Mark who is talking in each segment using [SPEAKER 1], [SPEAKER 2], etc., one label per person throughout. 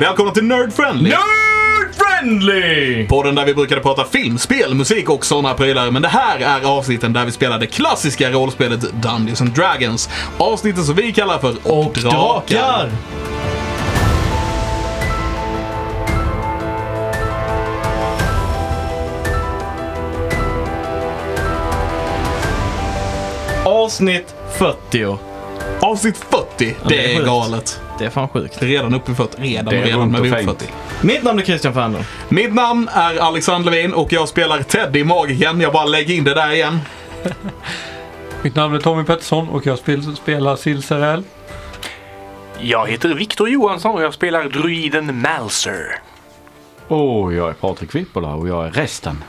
[SPEAKER 1] Välkomna till Nerd Friendly!
[SPEAKER 2] Nerd friendly!
[SPEAKER 1] Podden där vi brukade prata film, spel, musik och sådana prylar. Men det här är avsnitten där vi spelar det klassiska rollspelet Dungeons and Dragons. Avsnitten som vi kallar för Och Drakar.
[SPEAKER 2] Avsnitt 40.
[SPEAKER 1] Avsnitt 40,
[SPEAKER 2] det är
[SPEAKER 1] det är
[SPEAKER 2] sjukt.
[SPEAKER 1] galet.
[SPEAKER 2] Det är fan sjukt.
[SPEAKER 1] Redan uppe i 40, redan,
[SPEAKER 3] Det är
[SPEAKER 1] redan,
[SPEAKER 3] runt
[SPEAKER 1] men
[SPEAKER 3] och
[SPEAKER 1] vi är uppe i
[SPEAKER 3] fint.
[SPEAKER 1] 40.
[SPEAKER 2] Mitt namn är Christian Ferner.
[SPEAKER 1] Mitt namn är Alexander Levin och jag spelar Teddy Magiken. Jag bara lägger in det där igen.
[SPEAKER 4] Mitt namn är Tommy Pettersson och jag spel, spelar Silsarell.
[SPEAKER 5] Jag heter Viktor Johansson och jag spelar druiden Malser.
[SPEAKER 3] Och jag är Patrik Wippola och jag är resten.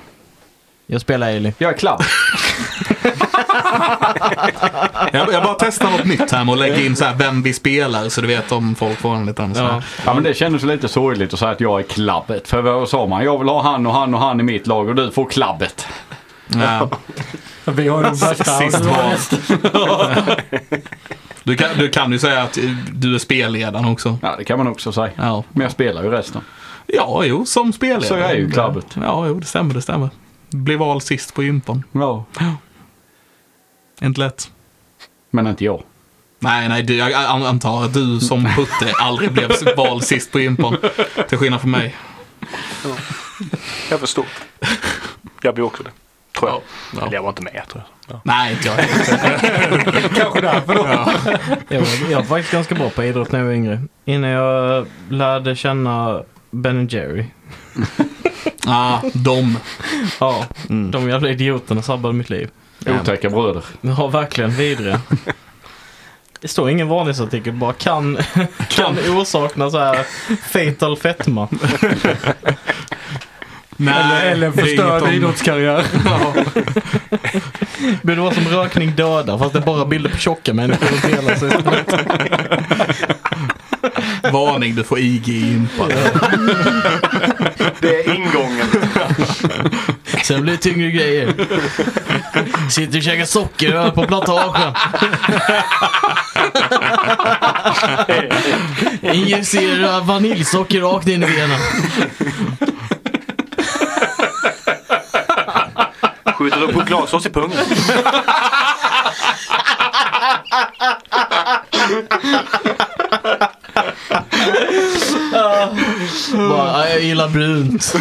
[SPEAKER 2] Jag spelar Ailey.
[SPEAKER 3] Jag är Klabb.
[SPEAKER 1] Jag, jag bara testar något nytt här med att lägga in så här vem vi spelar så du vet om folk får en liten så här.
[SPEAKER 3] Ja men det kändes ju lite sorgligt att säga att jag är Klabbet. För vad sa man? Jag vill ha han och han och han i mitt lag och du får Klabbet.
[SPEAKER 1] Ja.
[SPEAKER 4] Vi har ju de bästa.
[SPEAKER 1] Sist var... du, kan, du kan ju säga att eh, du är spelledaren också.
[SPEAKER 3] Ja det kan man också säga.
[SPEAKER 1] Ja,
[SPEAKER 3] Men jag spelar ju resten.
[SPEAKER 1] ja jo, som spelledare.
[SPEAKER 3] Så jag är ju Klabbet.
[SPEAKER 1] Ja, jo, det stämmer, det stämmer. Blev vald sist på gympan.
[SPEAKER 3] Ja.
[SPEAKER 1] Inte lätt.
[SPEAKER 3] Men inte jag.
[SPEAKER 1] Nej, nej, du, jag an- antar att du som Putte aldrig blev vald sist på gympan. Till skillnad från mig.
[SPEAKER 5] Jag förstår. Jag blir också det. Tror jag.
[SPEAKER 1] Ja.
[SPEAKER 5] Eller jag var inte med jag tror jag.
[SPEAKER 1] Nej, inte jag.
[SPEAKER 4] Kanske därför då.
[SPEAKER 2] Jag var, jag var faktiskt ganska bra på idrott när jag var yngre. Innan jag lärde känna Ben Jerry.
[SPEAKER 1] Ah, de.
[SPEAKER 2] Ja, de jävla idioterna sabbade mitt liv.
[SPEAKER 3] Otäcka bröder.
[SPEAKER 2] Ja, verkligen vidriga. Det står ingen varningsartikel, bara kan, kan orsakna så här fatal fetma.
[SPEAKER 1] Nej,
[SPEAKER 4] Eller, eller
[SPEAKER 1] det är inget
[SPEAKER 4] förstörd
[SPEAKER 1] om-
[SPEAKER 4] idrottskarriär.
[SPEAKER 2] Borde vara som rökning dödar fast det är bara bilder på tjocka människor runt hela sig.
[SPEAKER 1] Varning, du får IG i gympan.
[SPEAKER 5] Det är ingången.
[SPEAKER 2] Sen blir det tyngre grejer. Sitter och käkar socker över på plantagen. Injicerar vaniljsocker rakt in i benen.
[SPEAKER 5] Skjuter upp chokladsås i pungen.
[SPEAKER 2] Bara, jag gillar brunt.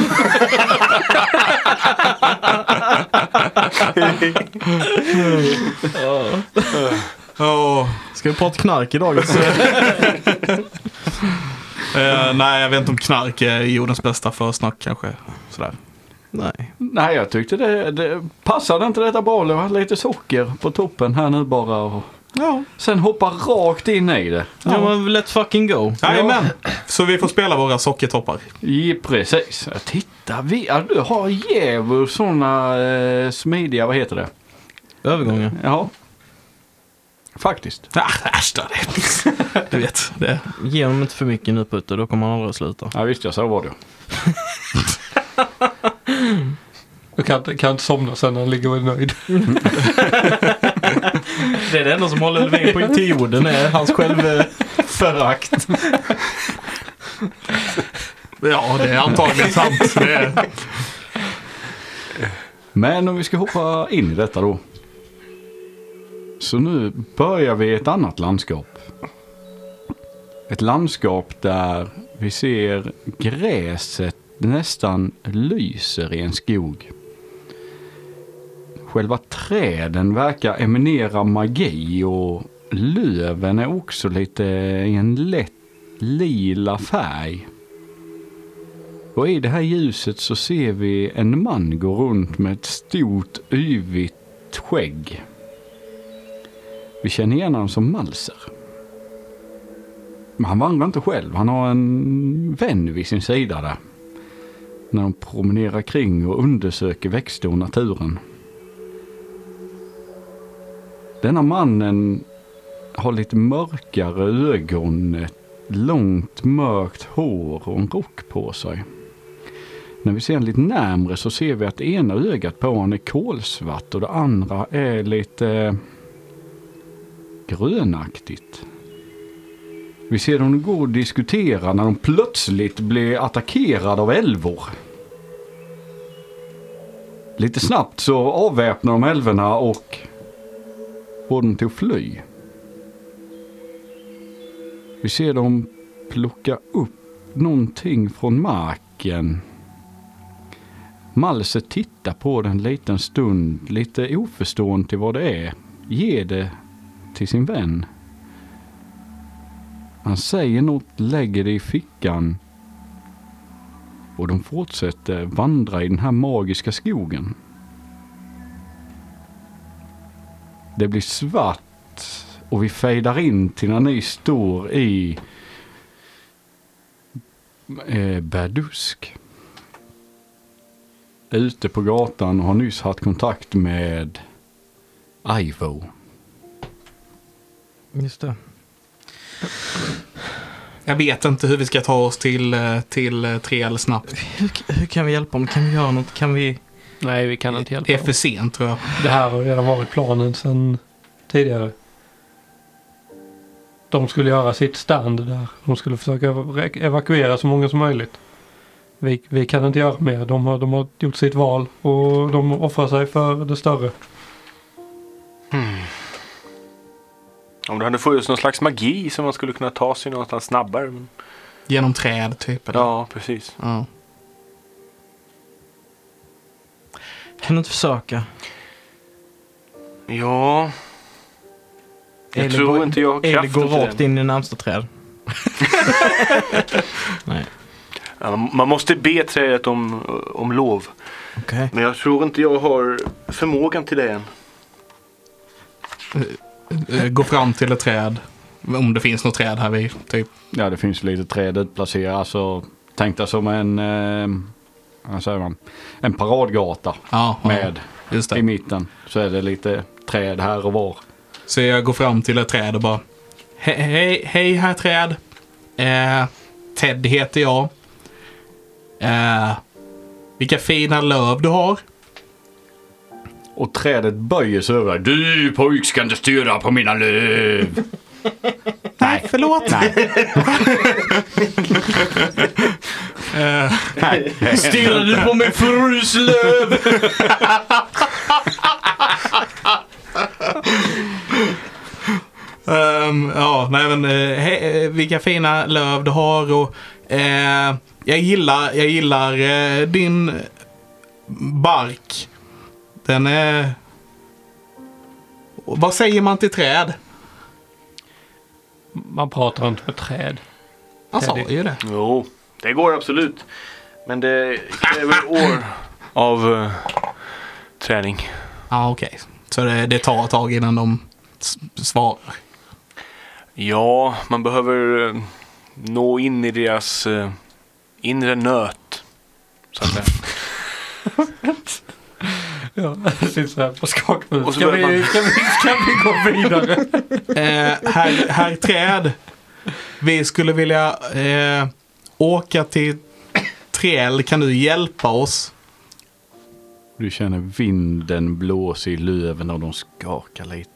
[SPEAKER 1] Åh.
[SPEAKER 2] Ska vi prata knark idag?
[SPEAKER 1] Eh, nej, jag vet inte om knark är jordens bästa försnack kanske. Sådär.
[SPEAKER 2] Nej.
[SPEAKER 3] Nej jag tyckte det, det passade inte detta bra. Det var lite socker på toppen här nu bara. Och
[SPEAKER 1] Ja.
[SPEAKER 3] sen hoppa rakt in i det.
[SPEAKER 2] Ja, men let's fucking go.
[SPEAKER 1] Jajamän. Så vi får spela våra sockertoppar.
[SPEAKER 3] Ja, precis. Ja, Titta, vi, ja, du har jävligt sådana eh, smidiga, vad heter det?
[SPEAKER 2] Övergången.
[SPEAKER 3] Ja. Faktiskt.
[SPEAKER 1] Ah, äsch då. det- Du vet, det.
[SPEAKER 2] Ge honom inte för mycket nu Putte, då kommer han aldrig att sluta.
[SPEAKER 3] Ja visst, jag så var det.
[SPEAKER 4] Du kan, inte- kan inte somna sen när han ligger och är nöjd.
[SPEAKER 2] Det är det enda som håller Levin på till jorden, är hans självförakt.
[SPEAKER 1] Ja, det är antagligen sant. Det är...
[SPEAKER 3] Men om vi ska hoppa in i detta då. Så nu börjar vi i ett annat landskap. Ett landskap där vi ser gräset nästan lyser i en skog. Själva träden verkar emanera magi och löven är också lite i en lätt lila färg. Och i det här ljuset så ser vi en man gå runt med ett stort yvigt skägg. Vi känner igen honom som Malser. Men han vandrar inte själv, han har en vän vid sin sida där. När de promenerar kring och undersöker växter och naturen. Denna mannen har lite mörkare ögon, ett långt mörkt hår och en rock på sig. När vi ser honom lite närmre så ser vi att det ena ögat på honom är kolsvart och det andra är lite eh, grönaktigt. Vi ser dem gå och diskutera när de plötsligt blir attackerade av älvor. Lite snabbt så avväpnar de älvorna och får dem till att fly. Vi ser dem plocka upp någonting från marken. Malse tittar på den en liten stund, lite oförstående till vad det är. Ger det till sin vän. Han säger något, lägger det i fickan. Och de fortsätter vandra i den här magiska skogen. Det blir svart och vi fejdar in till när ni står i eh, Berdusk. Ute på gatan och har nyss haft kontakt med Ivo.
[SPEAKER 2] Just det.
[SPEAKER 1] Jag vet inte hur vi ska ta oss till, eh, till eh, Triel snabbt.
[SPEAKER 2] Hur, hur kan vi hjälpa dem? Kan vi göra något? Kan vi...
[SPEAKER 6] Nej, vi kan inte hjälpa
[SPEAKER 1] Det är för
[SPEAKER 6] dem.
[SPEAKER 1] sent tror jag.
[SPEAKER 4] Det här har redan varit planen sedan tidigare. De skulle göra sitt stand där. De skulle försöka ev- evakuera så många som möjligt. Vi, vi kan inte göra mer. De har, de har gjort sitt val och de offrar sig för det större.
[SPEAKER 5] Om det hade funnits någon slags magi som man skulle kunna ta sig någonstans snabbare. Men...
[SPEAKER 1] Genom träd typ. Eller?
[SPEAKER 5] Ja, precis.
[SPEAKER 1] Ja.
[SPEAKER 2] Kan du inte försöka?
[SPEAKER 5] Ja. Jag
[SPEAKER 2] Eller
[SPEAKER 5] tror
[SPEAKER 2] går-
[SPEAKER 5] inte jag har
[SPEAKER 2] Eller
[SPEAKER 5] kraften
[SPEAKER 2] gå
[SPEAKER 5] till
[SPEAKER 2] rakt
[SPEAKER 5] den.
[SPEAKER 2] in i närmsta träd. Nej,
[SPEAKER 5] Ja, man- Man måste be trädet om, om lov.
[SPEAKER 2] okej.
[SPEAKER 5] Men jag tror inte jag har förmågan till det än.
[SPEAKER 1] Eh, Gå fram till ett träd. Om det finns något träd här vid. Typ.
[SPEAKER 3] Ja, det finns lite träd utplacerat. Alltså, tänk dig som en, eh, vad säger man, en paradgata
[SPEAKER 1] Ja, ja,
[SPEAKER 3] med
[SPEAKER 1] Just
[SPEAKER 3] i
[SPEAKER 1] det.
[SPEAKER 3] mitten. Så är det lite träd här och var.
[SPEAKER 1] Så jag går fram till ett träd och bara. Hej, hej, hej här träd. Eh, Ted heter jag. Eh, vilka fina löv du har.
[SPEAKER 3] Och trädet böjer sig över. Du pojk ska inte styra på mina löv.
[SPEAKER 1] Nej, förlåt.
[SPEAKER 3] Nej.
[SPEAKER 1] Eh,
[SPEAKER 3] Nej.
[SPEAKER 2] Stirrar du på min frus löv?
[SPEAKER 1] ehm, ja, nej men eh, hej, eh, vilka fina löv du har och eh, jag gillar, jag gillar eh, din bark. Den är... Och Vad säger man till träd?
[SPEAKER 4] Man pratar inte med träd.
[SPEAKER 1] Han sa
[SPEAKER 4] Träd.
[SPEAKER 1] ju det.
[SPEAKER 5] Jo, det går absolut. Men det kräver år av eh, träning.
[SPEAKER 1] Ja, okej. Så det, det tar ett tag innan de s- svarar.
[SPEAKER 5] Ja, man behöver eh, nå in i deras eh, inre nöt. Så att säga.
[SPEAKER 4] Ja, sitter så här på skaknut.
[SPEAKER 5] Och så
[SPEAKER 4] Ska vi,
[SPEAKER 5] börjar man-
[SPEAKER 4] kan, vi, kan vi gå vidare?
[SPEAKER 1] Eh, herr, herr Träd, vi skulle vilja eh, åka till Triel. Kan du hjälpa oss?
[SPEAKER 3] Du känner vinden blåsa i löven och de skakar lite.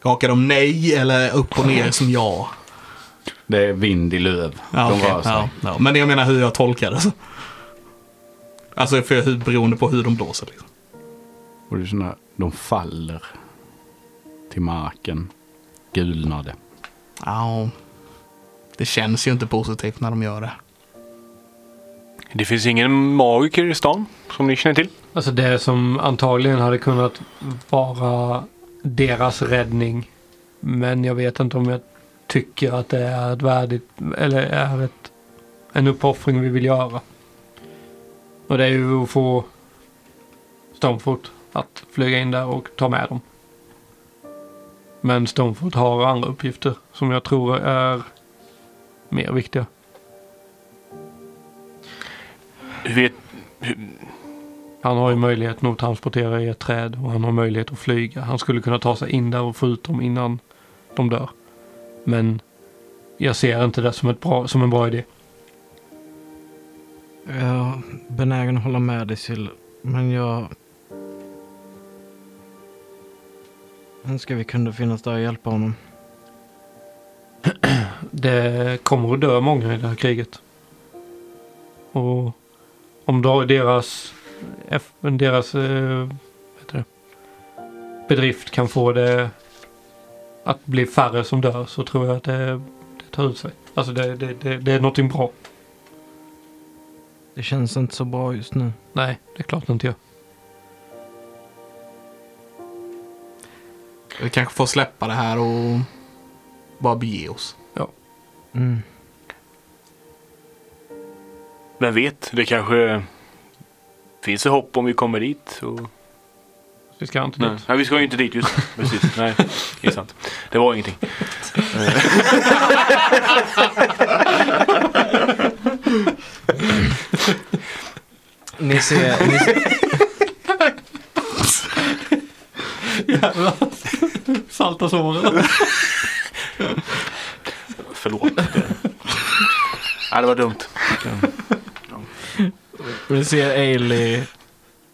[SPEAKER 1] Skakar de nej eller upp och ner som ja?
[SPEAKER 3] Det är vind i löv.
[SPEAKER 1] Ja,
[SPEAKER 3] de
[SPEAKER 1] okej.
[SPEAKER 3] rör sig.
[SPEAKER 1] ja, ja. Men jag menar hur jag tolkar det. Alltså för hur, beroende på hur de blåser. Liksom.
[SPEAKER 3] Och det är såna, de faller till marken. Gulnade.
[SPEAKER 1] Ja, det känns ju inte positivt när de gör det.
[SPEAKER 5] Det finns ingen magiker i stan som ni känner till.
[SPEAKER 4] Alltså det som antagligen hade kunnat vara deras räddning. Men jag vet inte om jag tycker att det är ett värdigt eller är ett, en uppoffring vi vill göra. Och det är ju att få Stormfot att flyga in där och ta med dem. Men Stormfot har andra uppgifter som jag tror är mer viktiga.
[SPEAKER 5] Hur vet, hur,
[SPEAKER 4] Han har ju möjligheten att transportera i ett träd och han har möjlighet att flyga. Han skulle kunna ta sig in där och få ut dem innan de dör. Men jag ser inte det som, ett bra, som en bra idé.
[SPEAKER 2] Jag är benägen att hålla med dig Sill, men jag... Önskar vi kunde finnas där och hjälpa honom.
[SPEAKER 4] det kommer att dö många i det här kriget. Och om då deras, eff- deras eh, vad heter det, bedrift kan få det att bli färre som dör så tror jag att det, det tar ut sig. Alltså det, det, det, det är någonting bra.
[SPEAKER 2] Det känns inte så bra just nu.
[SPEAKER 4] Nej, det är klart det inte gör.
[SPEAKER 1] Vi kanske får släppa det här och bara bege oss.
[SPEAKER 2] Mm.
[SPEAKER 5] Vem vet, det kanske finns ett hopp om vi kommer dit. Och...
[SPEAKER 4] Vi ska inte
[SPEAKER 5] Nej.
[SPEAKER 4] dit.
[SPEAKER 5] Nej, vi ska ju inte dit just nu. Precis, nej, det är sant. Det var ingenting.
[SPEAKER 2] Ni ser... Ni ser
[SPEAKER 4] Salta såren.
[SPEAKER 5] Förlåt. Ja, det var dumt.
[SPEAKER 2] ni ser Ailey,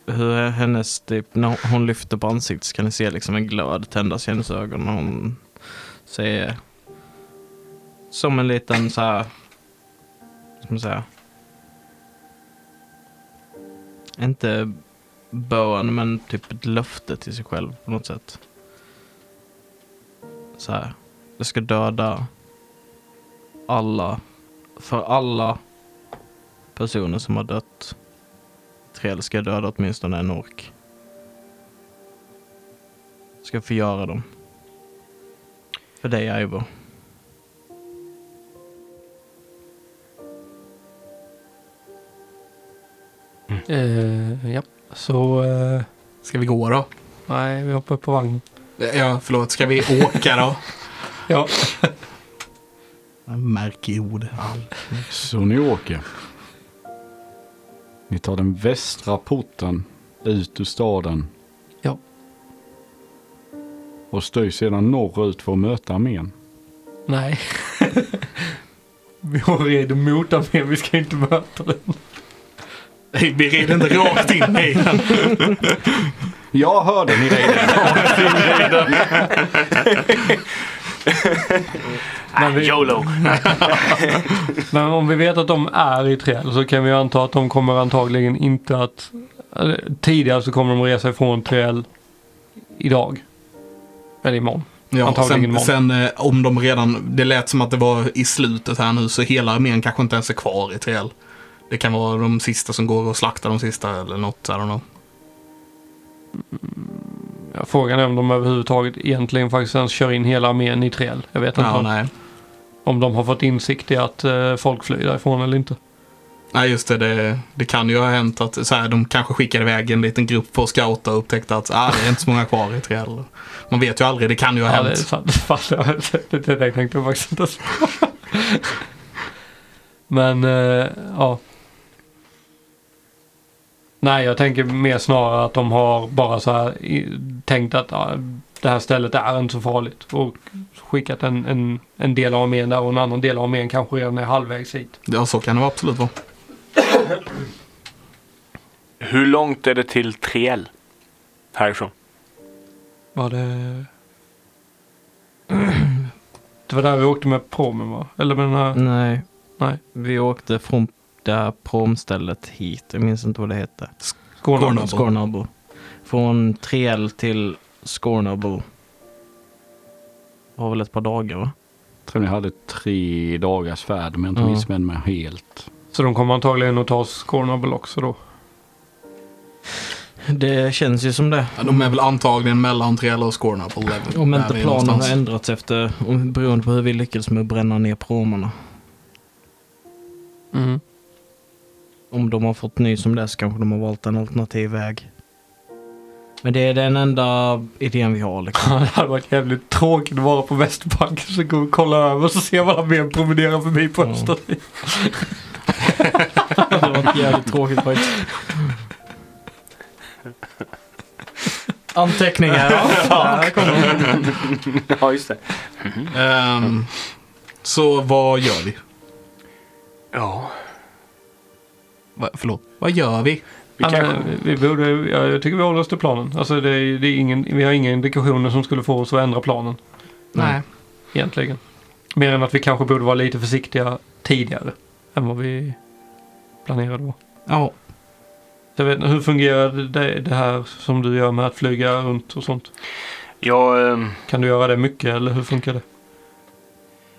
[SPEAKER 2] hur hennes typ, när hon- hon lyfter på ansiktet så kan ni se liksom en glöd tändas i hennes ögon när hon säger som en liten så här, vad ska man säga, inte bön men typ ett löfte till sig själv på något sätt. Så här, jag ska döda alla, för alla personer som har dött. Trell ska döda åtminstone en ork. Ska förgöra dem. För dig, Ivor.
[SPEAKER 4] Eh, ja, så eh,
[SPEAKER 1] Ska vi gå då?
[SPEAKER 4] nej, vi hoppar upp på vagnen.
[SPEAKER 1] Ja, förlåt. Ska vi åka då?
[SPEAKER 4] Ja.
[SPEAKER 1] Märklig ord.
[SPEAKER 3] Så ni åker. Ni tar den västra porten ut ur staden.
[SPEAKER 4] Ja.
[SPEAKER 3] Och styr sedan norrut för att möta armén.
[SPEAKER 4] Nej. vi har redan mot armén, vi ska inte möta den.
[SPEAKER 1] Nej, vi rider inte rakt in i den.
[SPEAKER 3] Jag hörde ni redan.
[SPEAKER 5] Ah, YOLO!
[SPEAKER 4] Men om vi vet att de är i träd så kan vi anta att de kommer antagligen inte att... eller, Tidigare så kommer de resa ifrån träd idag. Eller imorgon.
[SPEAKER 1] Ja,
[SPEAKER 4] Antagligen
[SPEAKER 1] sen,
[SPEAKER 4] imorgon.
[SPEAKER 1] sen eh, om de redan, det lät som att det var i slutet här nu så hela armén kanske inte ens är kvar i TL. Det kan vara de sista som går och slaktar de sista eller något, I don't know.
[SPEAKER 4] Ja, Frågan är om de överhuvudtaget egentligen faktiskt ens kör in hela armén i träd. Jag vet inte
[SPEAKER 1] Ja,
[SPEAKER 4] om,
[SPEAKER 1] nej.
[SPEAKER 4] om de har fått insikt i att eh, folk flyr därifrån eller inte.
[SPEAKER 1] nej, just det, det. Det kan ju ha hänt att så här, de kanske skickade iväg en liten grupp för att scouta och upptäckte att ah, det är inte så många kvar i TL. Man vet ju aldrig, det kan ju ha
[SPEAKER 4] Ja, det är
[SPEAKER 1] hänt.
[SPEAKER 4] sant. Fast jag, det, det där tänkte jag faktiskt inte ens på. Men, eh, ja. Nej, jag tänker mer snarare att de har bara så här i, tänkt att ja, det här stället är inte så farligt. Och skickat en, en, en del av armén där och en annan del av armén kanske redan är halvvägs hit.
[SPEAKER 1] Ja, så kan det vara, absolut vara.
[SPEAKER 5] Hur långt är det till Triel? Härifrån?
[SPEAKER 4] Var det... Det var där vi åkte med promen va? Eller med den här...
[SPEAKER 2] Nej.
[SPEAKER 4] Nej.
[SPEAKER 2] Vi åkte från det här promstället hit. Jag minns inte vad det hette.
[SPEAKER 4] Skåne.
[SPEAKER 1] Skåne. Skornabo.
[SPEAKER 2] Skornabo. Från Triel till Skornabo. Var väl ett par dagar, va?
[SPEAKER 3] tror ni hade tre dagars färd om jag inte
[SPEAKER 2] Ja.
[SPEAKER 3] missminner mig helt.
[SPEAKER 4] Så de kommer antagligen att ta Skånabel också då.
[SPEAKER 2] Det känns ju som det.
[SPEAKER 1] Ja, de är väl antagligen mellan TL och Skorna på level.
[SPEAKER 2] Om
[SPEAKER 1] Där
[SPEAKER 2] inte
[SPEAKER 1] vi är
[SPEAKER 2] planen
[SPEAKER 1] någonstans.
[SPEAKER 2] har ändrats efter, om- beroende på hur vi lyckades med att bränna ner promarna.
[SPEAKER 4] Mm.
[SPEAKER 2] Om de har fått ny som dess kanske de har valt en alternativ väg. Men det är den enda idén vi har. Liksom.
[SPEAKER 4] Ja, Det hade varit jävligt tråkigt att vara på Västbanken så gå och kolla över så ser man armén promenera förbi på
[SPEAKER 2] Ja.
[SPEAKER 4] östra sidan.
[SPEAKER 2] det var jävligt tråkigt faktiskt. Anteckningar. Ja, här kommer de.
[SPEAKER 5] Ja, just det.
[SPEAKER 1] Ehm, så vad gör vi?
[SPEAKER 5] Ja.
[SPEAKER 1] Va, förlåt, vad gör vi?
[SPEAKER 5] Vi kanske...
[SPEAKER 4] Men, eh, vi borde, ja, jag tycker vi håller oss till planen. Alltså det, är- det är ingen, vi har inga indikationer som skulle få oss att ändra planen
[SPEAKER 1] Nej.
[SPEAKER 4] egentligen. Mer än att vi kanske borde vara lite försiktiga tidigare än vad vi planerade då.
[SPEAKER 1] Ja.
[SPEAKER 4] Jag vet inte, hur fungerar det, det här som du gör med att flyga runt och sånt?
[SPEAKER 5] Jag, eh,
[SPEAKER 4] Kan du göra det mycket eller hur funkar det?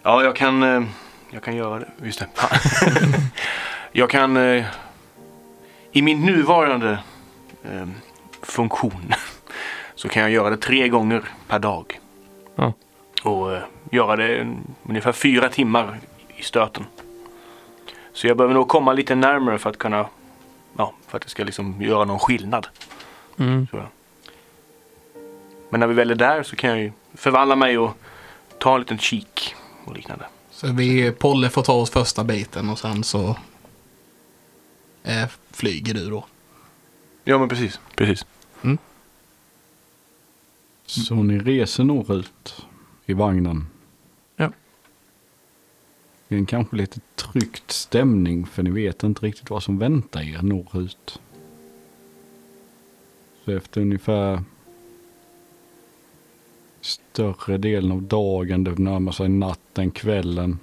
[SPEAKER 5] ja, jag kan... eh, Jag kan göra det. Just det. jag kan... eh, I min nuvarande eh, funktion så kan jag göra det tre gånger per dag.
[SPEAKER 4] Ja.
[SPEAKER 5] Och eh, göra det en- ungefär fyra timmar i stöten. Så jag behöver nog komma lite närmare för att kunna... Ja, för att det ska liksom göra någon skillnad. Mm. Men när vi väl är där så kan jag ju förvandla mig och ta en liten kik och liknande.
[SPEAKER 1] Så vi, Polle får ta oss första biten och sen så eh, flyger du då.
[SPEAKER 5] Ja men precis. precis.
[SPEAKER 3] Så ni reser norrut i vagnen.
[SPEAKER 4] Ja.
[SPEAKER 3] Det är en kanske lite tryckt stämning för ni vet inte riktigt vad som väntar er norrut. Så efter ungefär större delen av dagen, det närmar sig natten, kvällen.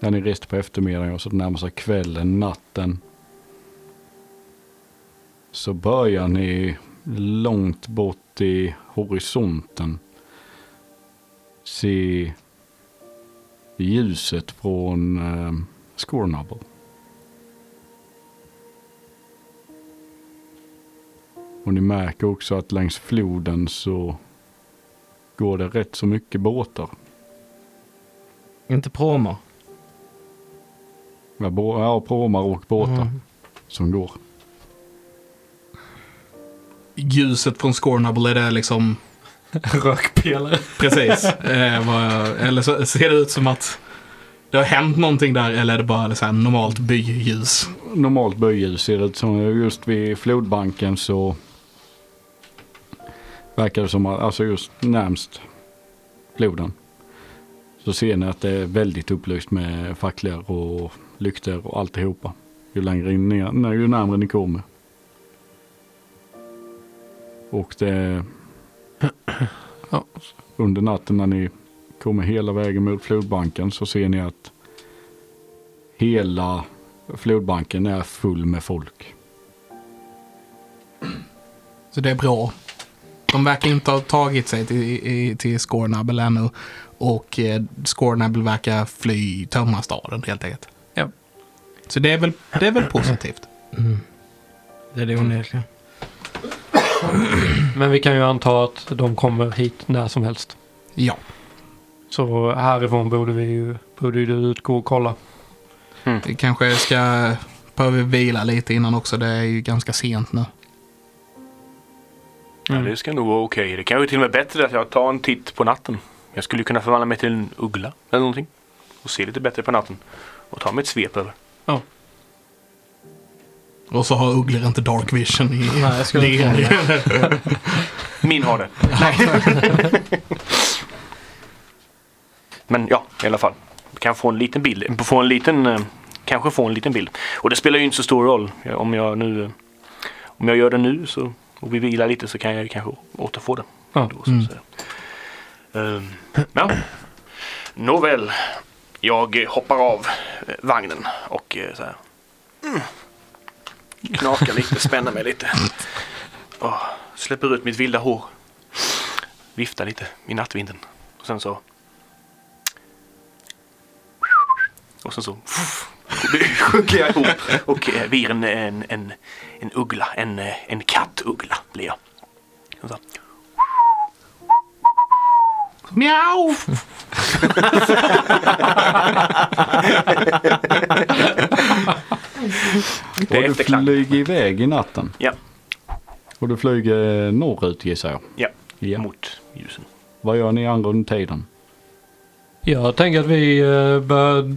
[SPEAKER 3] När ni reste på eftermiddagen och så närmar sig kvällen, natten. Så börjar ni långt bort i horisonten se ljuset från eh, Scornable. Och ni märker också att längs floden så går det rätt så mycket båtar.
[SPEAKER 2] Inte promer.
[SPEAKER 3] Ja, bå- ja pråmar och båtar
[SPEAKER 2] Mm.
[SPEAKER 3] som går.
[SPEAKER 1] Ljuset från Scornable, är det liksom
[SPEAKER 4] Rökpelare.
[SPEAKER 1] precis? eh, vad jag, eller så ser det ut som att det har hänt någonting där eller är det bara så här normalt byljus?
[SPEAKER 3] normalt böjljus ser det ut som. Just vid flodbanken så verkar det som att, alltså just närmst floden. Så ser ni att det är väldigt upplyst med facklor och lyktor och alltihopa. Ju längre in ner, nej, ju närmare ni kommer. Och det...
[SPEAKER 4] Ja.
[SPEAKER 3] Under natten när ni kommer hela vägen mot flodbanken så ser ni att hela Flodbanken är full med folk.
[SPEAKER 1] Så det är bra. De verkar inte ha tagit sig till, i, till Scornable ännu. Och eh, Scornable verkar fly, tömma staden helt enkelt.
[SPEAKER 4] Ja.
[SPEAKER 1] Så det är väl, det är väl positivt.
[SPEAKER 2] Det är det onekligen.
[SPEAKER 4] Men vi kan ju anta att de kommer hit när som helst.
[SPEAKER 1] Ja.
[SPEAKER 4] Så härifrån borde vi ju borde ju du utgå och kolla.
[SPEAKER 1] Vi kanske ska behöva vila lite innan också. Det är ju ganska sent nu.
[SPEAKER 5] Ja, det ska nog vara okej. Det kanske till och med är bättre att jag tar en titt på natten. Jag skulle ju kunna förvandla mig till en uggla eller någonting. Och se lite bättre på natten. Och ta mig ett svep över.
[SPEAKER 1] Och så har ugglor inte dark vision i...
[SPEAKER 2] Nej, jag skulle inte
[SPEAKER 1] i-
[SPEAKER 5] Min har det. Men ja, i alla fall. Jag kan få en liten bild. Få en liten, eh, kanske få en liten bild. Och det spelar ju inte så stor roll. Jag- Om jag nu eh, om jag gör det nu så, och vi vilar lite så kan jag ju kanske återfå det.
[SPEAKER 4] Ja.
[SPEAKER 5] Då, så att säga. Ehm, ja. Nåväl, jag eh, hoppar av eh, vagnen och eh, så här. Mm. Knakar lite, spänner mig lite. Och släpper ut mitt vilda hår. Viftar lite i nattvinden. Och sen så... Och sen så... sjunker jag ihop och eh, blir en, en, en, en uggla. En, eh, en kattuggla blir jag. Och så-
[SPEAKER 1] Mjau!
[SPEAKER 5] Det är
[SPEAKER 3] och du
[SPEAKER 5] efterklang.
[SPEAKER 3] flyger iväg i natten.
[SPEAKER 5] Ja,
[SPEAKER 3] Och du flyger norrut gissar jag.
[SPEAKER 5] ja,
[SPEAKER 3] Ja.
[SPEAKER 5] mot ljusen.
[SPEAKER 3] Vad gör ni andra under tiden?
[SPEAKER 4] Jag tänker att vi eh, bör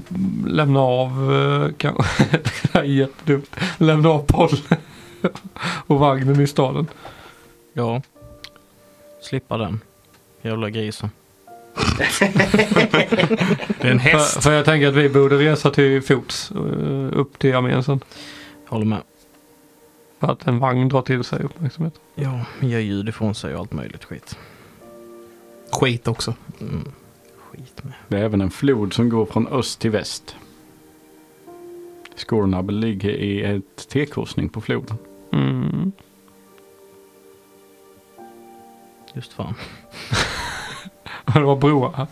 [SPEAKER 4] lämna av eh, kanske. det här är jättedumt. Lämna av pollen och vagnen i staden.
[SPEAKER 2] Ja. Slippa den. Jävla grisen.
[SPEAKER 1] Det är en
[SPEAKER 4] För,
[SPEAKER 1] häst.
[SPEAKER 4] för jag tänker att vi borde resa till fots eh, upp till armén sen.
[SPEAKER 2] Håller med.
[SPEAKER 4] För att en vagn drar till sig uppmärksamhet.
[SPEAKER 2] Ja, gör ljud ifrån sig och allt möjligt skit.
[SPEAKER 1] Skit också.
[SPEAKER 2] Mm. Skit. skit med.
[SPEAKER 3] Det är även en flod som går från öst till väst. Skornab ligger i ett T-korsning på floden.
[SPEAKER 4] Mm.
[SPEAKER 2] Just fan.
[SPEAKER 4] Det var broar här.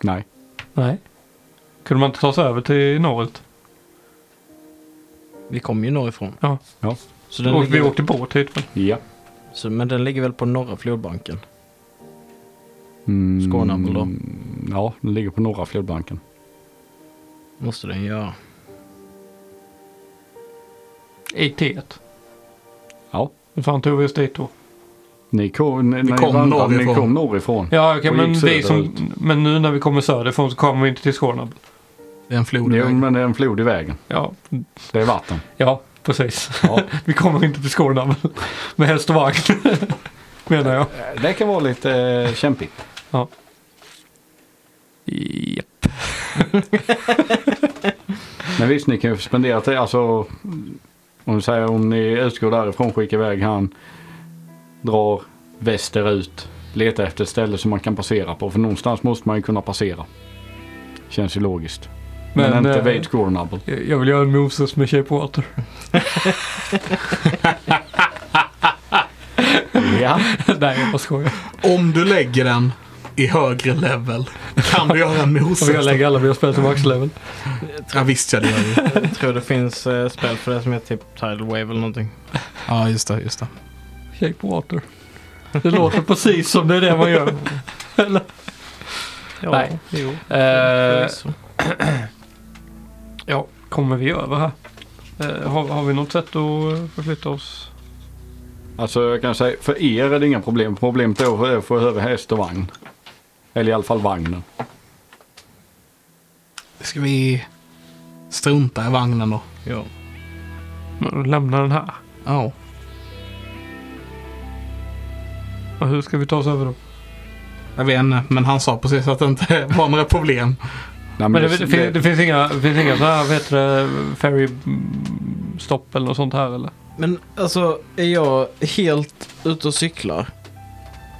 [SPEAKER 3] Nej,
[SPEAKER 4] Nej. Kunde man inte ta sig över till norrut?
[SPEAKER 2] Vi kom ju norrifrån.
[SPEAKER 4] Ja.
[SPEAKER 3] Ja.
[SPEAKER 2] Så den
[SPEAKER 4] Och vi
[SPEAKER 2] ligger,
[SPEAKER 4] åkte båt hit. väl?
[SPEAKER 3] ja.
[SPEAKER 2] så, men den ligger väl på norra flodbanken?
[SPEAKER 3] Mm,
[SPEAKER 2] Skornab då?
[SPEAKER 3] Ja, den ligger på norra flodbanken.
[SPEAKER 2] Måste den göra.
[SPEAKER 4] I T1.
[SPEAKER 3] Ja.
[SPEAKER 4] Hur fan tog vi oss dit då?
[SPEAKER 3] Ni kom, ni, ni
[SPEAKER 1] kom
[SPEAKER 3] vandrade, ni
[SPEAKER 1] norrifrån.
[SPEAKER 3] kom norrifrån.
[SPEAKER 4] Ja, okej,
[SPEAKER 3] Och
[SPEAKER 4] men,
[SPEAKER 3] gick
[SPEAKER 4] vi som,
[SPEAKER 3] söderut.
[SPEAKER 4] men nu när vi kommer söderifrån så kommer vi inte till Skåne.
[SPEAKER 1] Det är en flod. i
[SPEAKER 3] Jo,
[SPEAKER 1] vägen.
[SPEAKER 3] men det är en flod i vägen.
[SPEAKER 4] Ja,
[SPEAKER 3] Det är vatten.
[SPEAKER 4] ja precis.
[SPEAKER 3] Ja.
[SPEAKER 4] Vi kommer inte till Skåne med häst och vagn. Menar jag.
[SPEAKER 3] det kan vara lite eh, kämpigt.
[SPEAKER 4] Japp.
[SPEAKER 3] Men visst, ni kan ju spendera till, alltså om, vi säger, om ni utgår därifrån, skickar iväg han, drar västerut, letar efter ett ställe som man kan passera på. För någonstans måste man ju kunna passera. Känns ju logiskt. Men,
[SPEAKER 4] Men,
[SPEAKER 3] inte
[SPEAKER 4] eh,
[SPEAKER 3] vid Scornable.
[SPEAKER 4] Jag jag vill göra en Moses med Shape Water.
[SPEAKER 3] Ja.
[SPEAKER 4] Nej, jag bara skojar.
[SPEAKER 1] Om du lägger den i högre level kan du göra en
[SPEAKER 4] Jag vill
[SPEAKER 1] moses.
[SPEAKER 4] lägga alla mina spel till maxlevel.
[SPEAKER 1] Ja visst ja, det gör du.
[SPEAKER 2] Jag tror det finns eh, spel för det som heter typ Tidal Wave eller någonting.
[SPEAKER 1] Ja just det, just det.
[SPEAKER 4] Shape Water. Det låter precis som det är det man gör. Eller?
[SPEAKER 2] Ja,
[SPEAKER 4] Nej.
[SPEAKER 2] Jo.
[SPEAKER 4] Eh,
[SPEAKER 2] förvisso.
[SPEAKER 4] ja, kommer vi över här? Eh, har, har vi något sätt att förflytta oss?
[SPEAKER 3] Alltså jag kan säga, för er är det inga problem. Problemet är att få över häst och vagn. Eller i alla fall vagnen.
[SPEAKER 1] Ska vi strunta i vagnen då?
[SPEAKER 2] Ja.
[SPEAKER 4] Lämna den här.
[SPEAKER 1] Ja.
[SPEAKER 4] Och hur ska vi ta oss över då?
[SPEAKER 1] Jag vet inte, men han sa precis att det inte var några problem.
[SPEAKER 3] Nej,
[SPEAKER 4] Men det, det, fin- det finns inga, det finns inga så här, vad heter det, ferry mm, stopp eller något sånt här eller?
[SPEAKER 2] Men alltså, är jag helt ute och cyklar?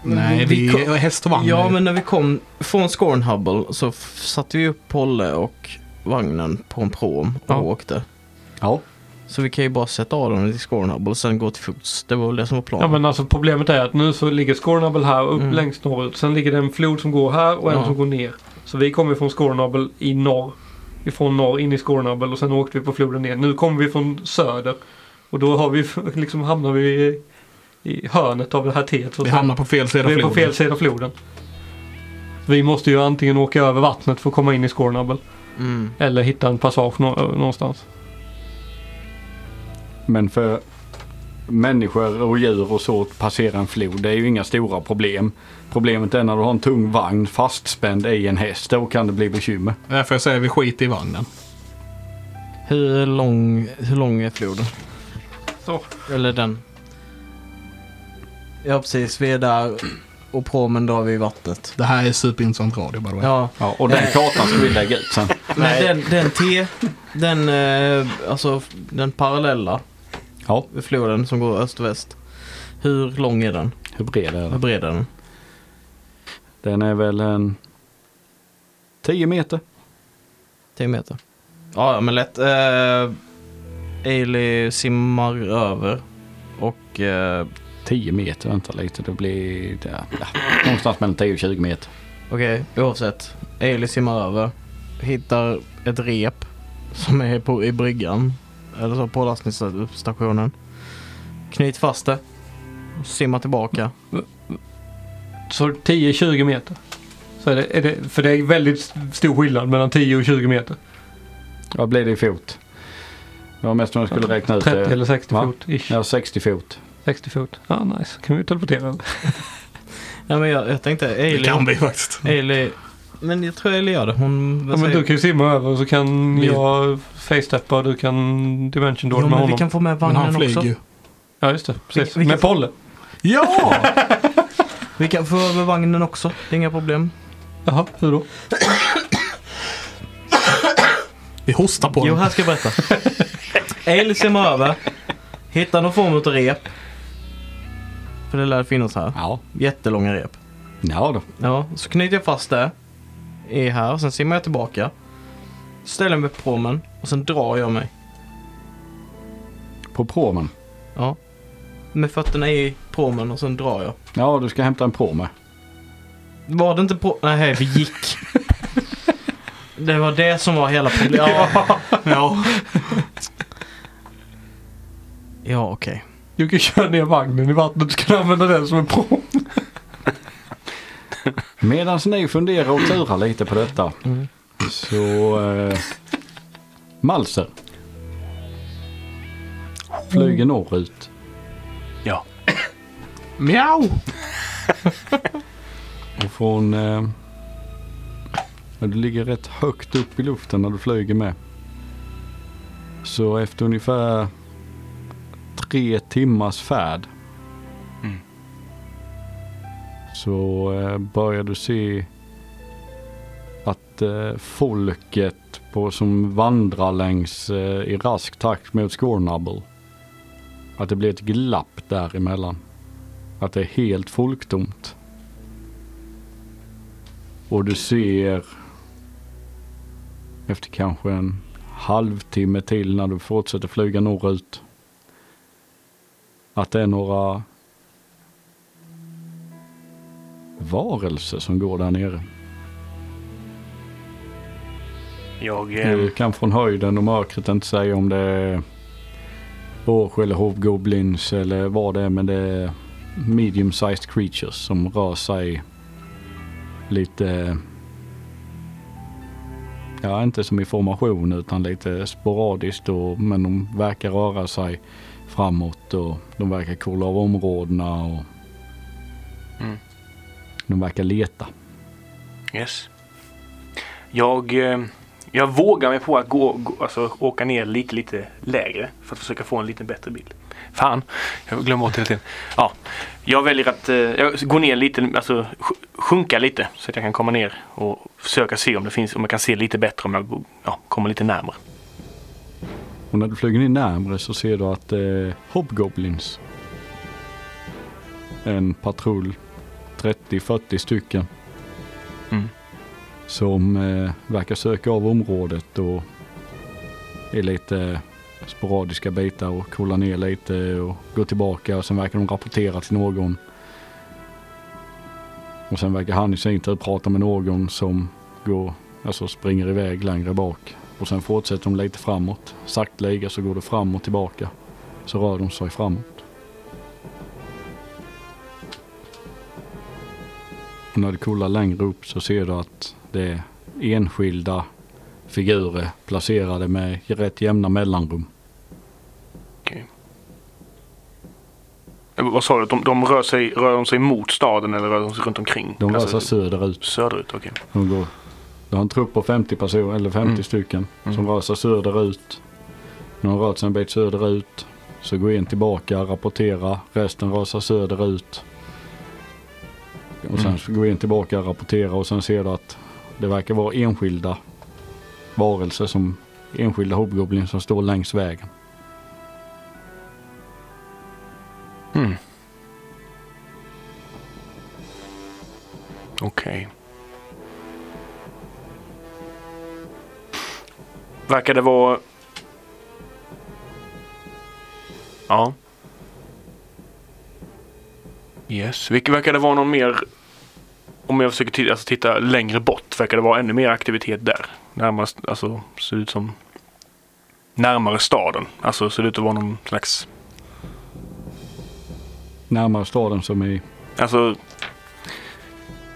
[SPEAKER 2] Men
[SPEAKER 1] Nej, vi,
[SPEAKER 2] kom-
[SPEAKER 1] häst och vagn.
[SPEAKER 2] Ja, men när vi kom från Scornhubble så f- satte vi upp Polle och vagnen på en pråm och
[SPEAKER 4] Ja.
[SPEAKER 2] åkte.
[SPEAKER 3] Ja.
[SPEAKER 2] Så vi kan ju bara sätta av dem till Scornhubble och sen gå till fots. Det var väl det som var planen.
[SPEAKER 4] Ja men alltså problemet är att nu så ligger Scornable här upp
[SPEAKER 2] Mm.
[SPEAKER 4] längst norrut. Sen ligger det en flod som går här och en
[SPEAKER 2] Ja.
[SPEAKER 4] som går ner. Så vi kommer från Scornable i norr. Ifrån norr in i Scornable och sen åkte vi på floden ner. Nu kommer vi från söder. Och då har vi liksom hamnar vi i, i hörnet av det här teet. så att
[SPEAKER 1] Vi
[SPEAKER 4] säga.
[SPEAKER 1] hamnar på fel sida
[SPEAKER 4] vi är på
[SPEAKER 1] floden.
[SPEAKER 4] fel sida floden. Vi måste ju antingen åka över vattnet för att komma in i Scornable.
[SPEAKER 2] Mm.
[SPEAKER 4] Eller hitta en passage nå- någonstans.
[SPEAKER 3] Men för människor och djur och så att passera en flod, det är ju inga stora problem. Problemet är när du har en tung vagn fastspänd i en häst, då kan det bli bekymmer.
[SPEAKER 1] Därför jag säger vi skiter i vagnen.
[SPEAKER 2] Hur, lång, hur lång är floden?
[SPEAKER 4] Så.
[SPEAKER 2] Eller den? Ja, precis. Vi är där och pråmen drar vi i vattnet.
[SPEAKER 1] Det här är superintressant radio by the way.
[SPEAKER 2] Ja,
[SPEAKER 3] Ja, och den kartan ska vi lägga ut sen.
[SPEAKER 2] men den, den T, den, eh, alltså den parallella
[SPEAKER 3] Ja,
[SPEAKER 2] floden som går öst och väst. Hur lång är den?
[SPEAKER 3] hur bred är
[SPEAKER 2] Hur
[SPEAKER 3] den?
[SPEAKER 2] bred är den?
[SPEAKER 3] Den är väl en 10 meter.
[SPEAKER 2] 10 meter. Ja, ja, men lätt. Eh, Ailey simmar över och eh,
[SPEAKER 3] 10 meter, vänta lite, det blir ja, ja, någonstans mellan 10 och 20 meter.
[SPEAKER 2] okej, oavsett. Ailey simmar över, hittar ett rep som är på, i bryggan, eller så på lastningsstationen. Knyt fast det, simmar tillbaka.
[SPEAKER 4] Så 10-20 meter. Så är det, är det, för det är väldigt stor skillnad mellan 10 och 20 meter.
[SPEAKER 3] Vad blir det i fot? Det var mest om jag skulle räkna ut
[SPEAKER 4] 30
[SPEAKER 3] det.
[SPEAKER 4] eller 60
[SPEAKER 3] va?
[SPEAKER 4] fot. Ish.
[SPEAKER 3] Ja, 60 fot.
[SPEAKER 4] 60 fot. Ja, nice. Kan vi teleportera den?
[SPEAKER 2] Nej men jag, jag tänkte
[SPEAKER 1] Det kan
[SPEAKER 2] Ailey,
[SPEAKER 1] vi faktiskt.
[SPEAKER 2] Ailey, men jag tror Ailey gör det. Hon,
[SPEAKER 4] Ja, men du kan ju simma över och så kan
[SPEAKER 1] Vi-
[SPEAKER 4] jag facetappa och du kan dimension door
[SPEAKER 2] jo,
[SPEAKER 4] med
[SPEAKER 2] men vi
[SPEAKER 4] honom.
[SPEAKER 2] kan få med
[SPEAKER 1] Men han
[SPEAKER 2] vagnen
[SPEAKER 1] flyger
[SPEAKER 2] också.
[SPEAKER 1] ju.
[SPEAKER 4] Ja, just det. Precis.
[SPEAKER 2] Vi- vi kan-
[SPEAKER 4] Med Polle.
[SPEAKER 1] Ja!
[SPEAKER 2] Vi kan få över vagnen också, det är inga problem.
[SPEAKER 4] Jaha, hur då?
[SPEAKER 1] Vi hostar på
[SPEAKER 2] Jo,
[SPEAKER 1] den.
[SPEAKER 2] här ska jag berätta. Ailey simmar över. Hittar någon form av rep. För det lär finnas här.
[SPEAKER 3] Ja,
[SPEAKER 2] Jättelånga rep.
[SPEAKER 3] ja då.
[SPEAKER 2] Ja, så knyter jag fast det. är här och sen simmar jag tillbaka. Ställer mig på promen och sen drar jag mig.
[SPEAKER 3] På promen.
[SPEAKER 2] Ja. Med fötterna i promen och sen drar jag.
[SPEAKER 3] Ja, du ska hämta en pråme.
[SPEAKER 2] Var det inte på... Nej, vi gick. Det var det som var hela problemet. Ja, ja. ja okej.
[SPEAKER 4] Du kan köra ner vagnen i vattnet. Du kan använda den som en pråm.
[SPEAKER 3] Medan ni funderar och turar lite på detta.
[SPEAKER 2] Mm.
[SPEAKER 3] Så... Eh, Malser. Flyger norrut.
[SPEAKER 5] Ja.
[SPEAKER 4] Mjau!
[SPEAKER 3] Och från... Eh, ja, du ligger rätt högt upp i luften när du flyger med. Så efter ungefär tre timmars färd.
[SPEAKER 5] Mm.
[SPEAKER 3] Så eh, börjar du se att eh, folket på, som vandrar längs eh, i rask takt mot Scornable. Att det blir ett glapp däremellan. Att det är helt folktomt. Och du ser efter kanske en halvtimme till när du fortsätter flyga norrut. Att det är några varelser som går där nere.
[SPEAKER 5] Jag...
[SPEAKER 3] Du
[SPEAKER 5] Eh,
[SPEAKER 3] kan från höjden och mörkret inte säga om det är orch eller hovgoblins eller vad det är men det är medium sized creatures som rör sig lite Ja, inte som i formation utan lite sporadiskt och, men de verkar röra sig framåt och de verkar kolla av områdena och
[SPEAKER 5] Mm.
[SPEAKER 3] de verkar leta.
[SPEAKER 5] yes. Jag... Eh, jag vågar mig på att gå, gå, alltså, åka ner lite, lite lägre för att försöka få en lite bättre bild. Fan, jag glömmer bort hela tiden. Ja, jag väljer att eh, jag går ner lite, alltså sj- sjunka lite så att jag kan komma ner och försöka se om det finns, om jag kan se lite bättre om jag går- ja, kommer lite närmare.
[SPEAKER 3] Och när du flyger in närmre så ser du att eh, Hobgoblins. En patrull. 30-40 stycken.
[SPEAKER 5] Mm.
[SPEAKER 3] Som eh, verkar söka av området och är lite sporadiska bitar och kollar ner lite och går tillbaka och sen verkar de rapportera till någon. Och sen verkar han i sin tur prata med någon som går, alltså springer iväg längre bak. Och sen fortsätter de lite framåt. Sakteliga så går det fram och tillbaka. Så rör de sig framåt. Och när du kollar längre upp så ser du att det är enskilda figurer placerade med rätt jämna mellanrum.
[SPEAKER 5] Eh, Vad sa du? De, de rör, sig, rör de sig mot staden eller rör de sig runt omkring?
[SPEAKER 3] De rör
[SPEAKER 5] Alltså,
[SPEAKER 3] sig söderut.
[SPEAKER 5] söderut. Okej.
[SPEAKER 3] De går. Du har en trupp på 50 personer, eller 50
[SPEAKER 5] Mm.
[SPEAKER 3] stycken, som
[SPEAKER 5] Mm.
[SPEAKER 3] rör sig söderut. När de rört sig en bit söderut så går en tillbaka, rapporterar, resten rör sig söderut. Och sen
[SPEAKER 5] Mm.
[SPEAKER 3] så går en tillbaka, rapporterar och sen ser du att det verkar vara enskilda varelser som enskilda hobgoblin som står längs vägen.
[SPEAKER 5] Mm. Okej. Verkar det vara... Ja. Yes. Vilket verkar det vara någon mer... Om jag försöker titta, alltså titta längre bort, verkar det vara ännu mer aktivitet där? Närmast, alltså ser ut som... Närmare staden. Alltså ser det ut att vara någon slags...
[SPEAKER 3] Närmare staden som är
[SPEAKER 5] Alltså.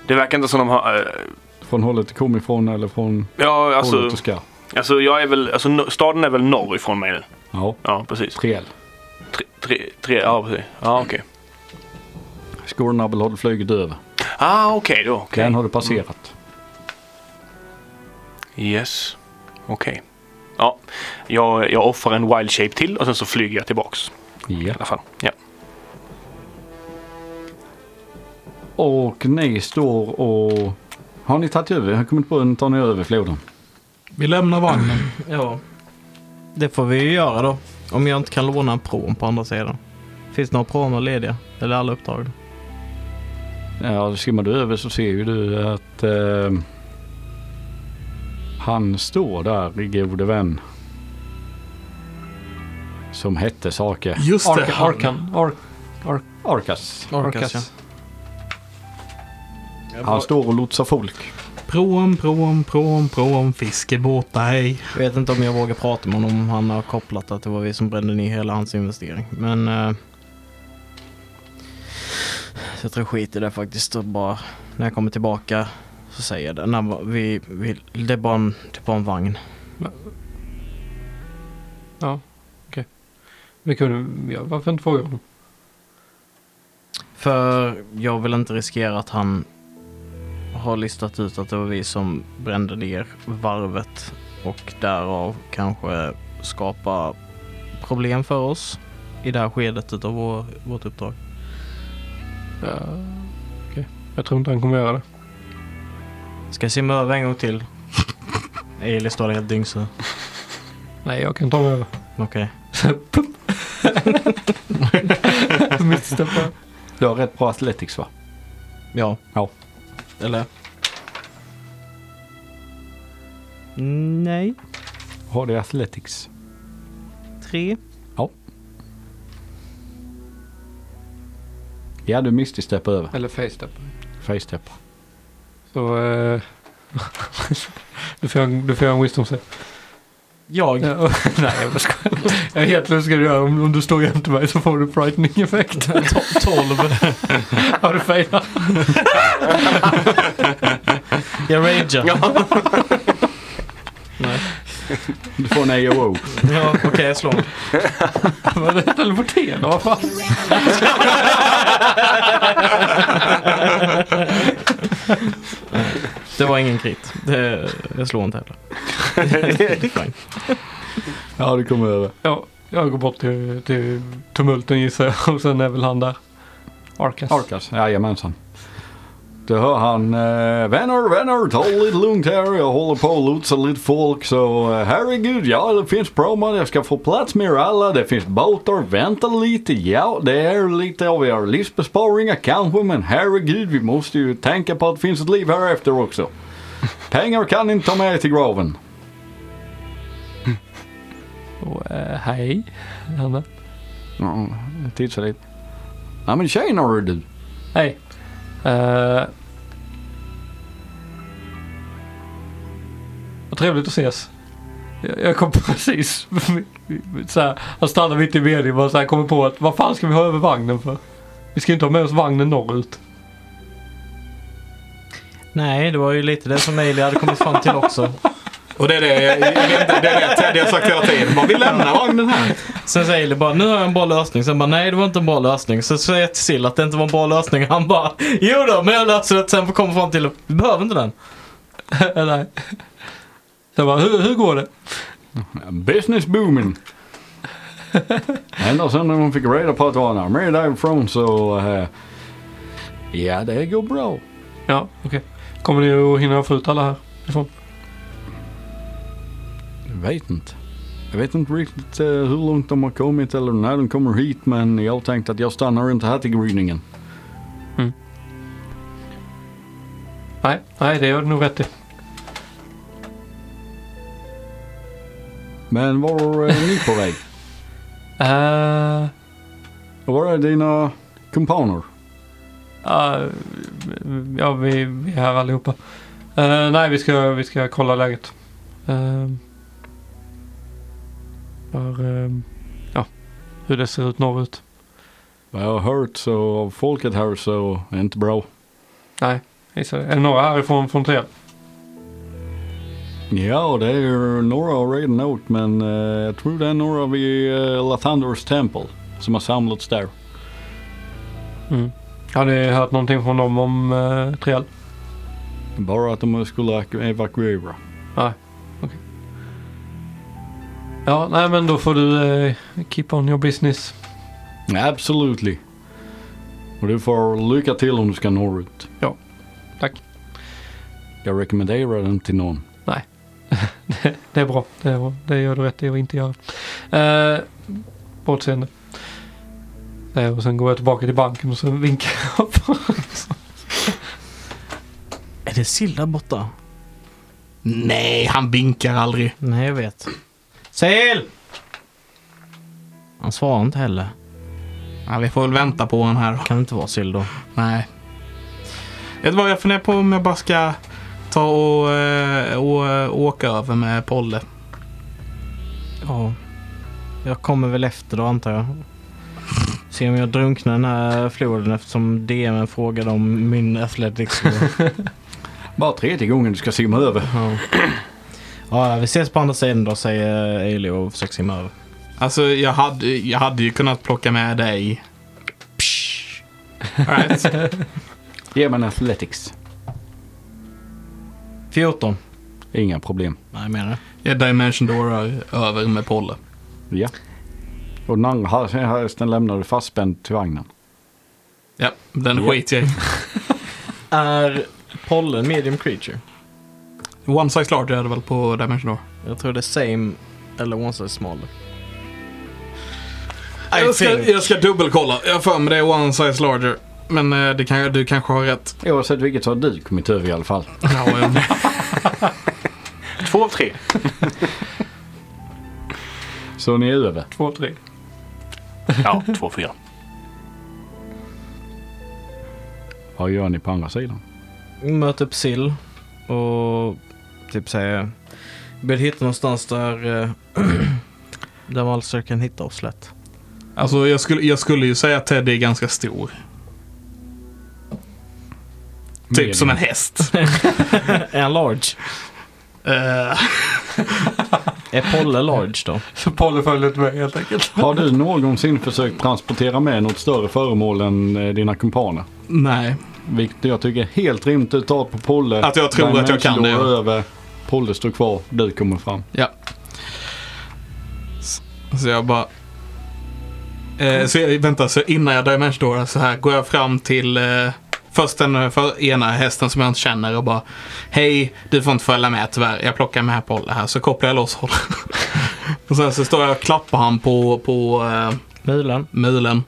[SPEAKER 5] Det verkar inte som de har... eh,
[SPEAKER 3] från hållet du kom ifrån eller från
[SPEAKER 5] ja,
[SPEAKER 3] hållet
[SPEAKER 5] alltså.
[SPEAKER 3] du ska.
[SPEAKER 5] Alltså jag är väl... Alltså no- staden är väl norr ifrån mig nu.
[SPEAKER 3] Ja,
[SPEAKER 5] Ja, precis.
[SPEAKER 3] Triel.
[SPEAKER 5] Tre, tre, tre ja, precis.
[SPEAKER 3] Mm.
[SPEAKER 5] Ja, okej.
[SPEAKER 3] Skornabbel har du flugit över.
[SPEAKER 5] Ah, okej då. okej.
[SPEAKER 3] Den har du passerat.
[SPEAKER 5] Mm. Yes. Okej. Ja, jag, jag offrar en wild shape till och sen så flyger jag tillbaks.
[SPEAKER 3] Ja.
[SPEAKER 5] I alla fall. Mm. Ja.
[SPEAKER 3] Och ni står och... Har ni tagit över? Jag har kommit på att ni tar ni över floden.
[SPEAKER 1] Vi lämnar vagnen.
[SPEAKER 2] Ja. Det får vi ju göra då. Om jag inte kan låna en pråm på andra sidan. Finns det några pråmar lediga? Eller är alla upptagna?
[SPEAKER 3] Ja, simmar du över så ser ju du att eh, Han står där, gode vän. Som hette saker.
[SPEAKER 1] Just det.
[SPEAKER 4] Arkan.
[SPEAKER 1] han-
[SPEAKER 4] Arkan. Ar-
[SPEAKER 3] Orkas.
[SPEAKER 2] Orkas, ja.
[SPEAKER 4] Orkas.
[SPEAKER 3] Han står och lotsar folk.
[SPEAKER 1] Pråm, pråm, pråm, pråm, fiskebåtar hej.
[SPEAKER 2] Jag vet inte om jag vågar prata med honom om han har kopplat att det var vi som brände ner hela hans investering. Men... Eh, jag tror skit i det faktiskt och bara... När jag kommer tillbaka så säger jag det. När vi, vi, det, är bara en, det är bara en vagn.
[SPEAKER 4] Vi kunde, ja, varför inte fråga honom?
[SPEAKER 2] För jag vill inte riskera att han har listat ut att det var vi som brände ner varvet och därav kanske skapa problem för oss i det här skedet av vår, vårt uppdrag.
[SPEAKER 4] Ja, okej. Jag tror inte han kommer göra det.
[SPEAKER 2] Ska jag simma över en gång till? Eli står där helt dyngsur.
[SPEAKER 4] Nej, jag kan ta mig över.
[SPEAKER 2] Okej.
[SPEAKER 4] Mittsteppa.
[SPEAKER 3] Du har rätt bra athletics va?
[SPEAKER 2] Ja.
[SPEAKER 3] Ja.
[SPEAKER 2] Eller? Nej.
[SPEAKER 3] Har du athletics?
[SPEAKER 2] Tre.
[SPEAKER 3] Ja, du misstysteppar över.
[SPEAKER 4] Eller facestep.
[SPEAKER 3] Facesteppar.
[SPEAKER 4] Så... Eh, du, får, göra en- du får göra en wisdom save.
[SPEAKER 2] Jag?
[SPEAKER 4] Ja, och- nej, jag bara skojar. Jag vet vad du ska göra. Om, om du står jämte mig så får du frightening effekt.
[SPEAKER 2] To- Tolv.
[SPEAKER 4] Har du failat?
[SPEAKER 2] Jag ragear. Nej.
[SPEAKER 3] Du får en AOO.
[SPEAKER 2] Ja, okej, jag slår.
[SPEAKER 4] Var det teleporterande? Vad fan?
[SPEAKER 2] Det var ingen krit. Det, jag slår inte heller. Det är fine.
[SPEAKER 3] Ja, du kommer över.
[SPEAKER 4] Ja, jag går bort till, till tumulten gissar jag. Och sen är väl han där. Arkas.
[SPEAKER 3] Orkas, jajamensan. Du hör han, eh, vänner, vänner, ta det lite lugnt här. Jag håller på och lotsa lite folk så eh, herregud, ja det finns promar, jag ska få plats med er alla, det finns båtar, vänta lite, ja det är lite av er livsbesparingar kanske men herregud, vi måste ju tänka på att det finns ett liv här efter också. Pengar kan ni inte ta med er till graven.
[SPEAKER 4] Och, eh, hej. Hanna.
[SPEAKER 3] Ja, titta lite. Ja men tjenare du.
[SPEAKER 4] Hej. Eh, vad trevligt att ses. Jag, jag kom precis. så här, han stannar mitt i meningen och så här kommer på att vad fan ska vi ha över vagnen för? Vi ska inte ha med oss vagnen norrut.
[SPEAKER 2] Nej, det var ju lite det som Eli hade kommit fram till också.
[SPEAKER 1] Och det är det, jag vet inte, det, är det Teddy har sagt hela tiden. Man vill lämna vagnen här.
[SPEAKER 2] Sen säger Eli bara, nu har jag en bra lösning. Sen bara, nej det var inte en bra lösning. Så säger jag till Sill att det inte var en bra lösning. Han bara, jo då, men jag löser det. Sen kommer fram till, vi behöver inte den.
[SPEAKER 4] Nej. Så jag bara, hur, hur går det?
[SPEAKER 3] Business booming. Ända sedan de fick reda på att det var en armé därifrån så... eh, ja, det går bra.
[SPEAKER 4] Ja, okej. Kommer ni att hinna få ut alla här? Ifrån?
[SPEAKER 3] Jag vet inte. Jag vet inte riktigt eh, hur långt de har kommit eller när de kommer hit men jag tänkte att jag stannar inte här till gryningen.
[SPEAKER 4] Nej, nej, det gör du nog rätt i.
[SPEAKER 3] Men var är ni på väg?
[SPEAKER 4] Eh,
[SPEAKER 3] Och Var är dina kompaner?
[SPEAKER 4] Ja, ja vi, vi är här allihopa. Eh, nej, vi ska, vi ska kolla läget. Eh, för, eh, ja, hur det ser ut norrut.
[SPEAKER 3] Vad jag har hört så av folket här så är det inte bra.
[SPEAKER 4] Gissar jag. Är det några härifrån från Triel?
[SPEAKER 3] Ja, det är några har redan åkt men eh, jag tror det är några vid uh, Lathandors tempel som har samlats där.
[SPEAKER 4] Har ni hört någonting från dem om uh, Triel?
[SPEAKER 3] Bara att de skulle ak- evakuera.
[SPEAKER 4] Ja, nej men då får du eh, keep on your business.
[SPEAKER 3] Absolutely. Och du får lycka till om du ska norrut.
[SPEAKER 4] Ja. Tack.
[SPEAKER 3] Jag rekommenderar den till någon.
[SPEAKER 4] Det är bra. Det, är bra. det gör du rätt i att inte göra. Eh, bortseende. Eh, och sen går jag tillbaka till banken och så vinkar jag på
[SPEAKER 2] Är det Sill där borta?
[SPEAKER 1] Nej, han vinkar aldrig.
[SPEAKER 2] Nej, jag vet. Sel! Han svarar inte heller.
[SPEAKER 1] Ja, vi får väl vänta på honom här då.
[SPEAKER 2] Kan det inte vara Sill då?
[SPEAKER 1] Nej. Vet du vad, jag funderar på om jag bara ska ta och, eh, och, eh, åka över med Polle.
[SPEAKER 2] Ja. Jag kommer väl efter då antar jag. Se om jag drunknar i den här floden eftersom DM frågade om min athletics.
[SPEAKER 3] Bara tredje gången du ska simma över.
[SPEAKER 2] ja. ja, vi ses på andra sidan då säger Eilio och försöker simma över.
[SPEAKER 1] Alltså, jag hade, jag hade ju kunnat plocka med dig. Psh. All right.
[SPEAKER 3] Ge mig en athletics.
[SPEAKER 2] 14.
[SPEAKER 3] Inga problem.
[SPEAKER 2] Nej, jag menar det.
[SPEAKER 1] Jag Dimension Doorar över med Polle.
[SPEAKER 3] Ja. Och den andra hä- hästen lämnar du fastspänd till vagnen.
[SPEAKER 1] Ja, den
[SPEAKER 3] Ja.
[SPEAKER 1] skiter jag i.
[SPEAKER 2] Är pollen medium creature?
[SPEAKER 1] One size large är det väl på Dimension Door?
[SPEAKER 2] Jag tror det är same eller one size smaller.
[SPEAKER 1] Jag ska, jag ska dubbelkolla. Jag har för mig det är one size larger. Men eh, det kan, du kanske har rätt.
[SPEAKER 3] Oavsett vilket så har du kommit över i alla fall.
[SPEAKER 1] Ja, eh,
[SPEAKER 5] Två av tre.
[SPEAKER 3] Så ni är över.
[SPEAKER 4] Två, tre.
[SPEAKER 5] Ja, två av fyra.
[SPEAKER 3] Vad gör ni på andra sidan?
[SPEAKER 2] möter upp Sill och typ säger vill hitta någonstans där eh, där Malser kan hitta oss lätt.
[SPEAKER 1] alltså, jag skulle, jag skulle ju säga att Teddy är ganska stor. Typ som en häst.
[SPEAKER 2] Är han large?
[SPEAKER 1] Eh,
[SPEAKER 2] Är Polle large då?
[SPEAKER 4] Så Polly följde inte med helt enkelt.
[SPEAKER 3] Har du någonsin försökt transportera med något större föremål än eh, dina kumpaner?
[SPEAKER 1] nej.
[SPEAKER 3] Vilket jag tycker är helt rimligt utav på Polle.
[SPEAKER 1] Att jag tror att jag kan
[SPEAKER 3] Dimension
[SPEAKER 1] det, ja.
[SPEAKER 3] Door över. Polle står kvar, du kommer fram.
[SPEAKER 1] Ja. S- Så jag bara... Eh, så jag, vänta, så innan jag dimension doorar så här går jag fram till eh, först den för, ena hästen som jag inte känner och bara Hej, du får inte följa med tyvärr. Jag plockar med Polle här så kopplar jag loss honom. och sen så står jag och klappar han på, på eh,
[SPEAKER 2] Mulen?
[SPEAKER 1] mulen.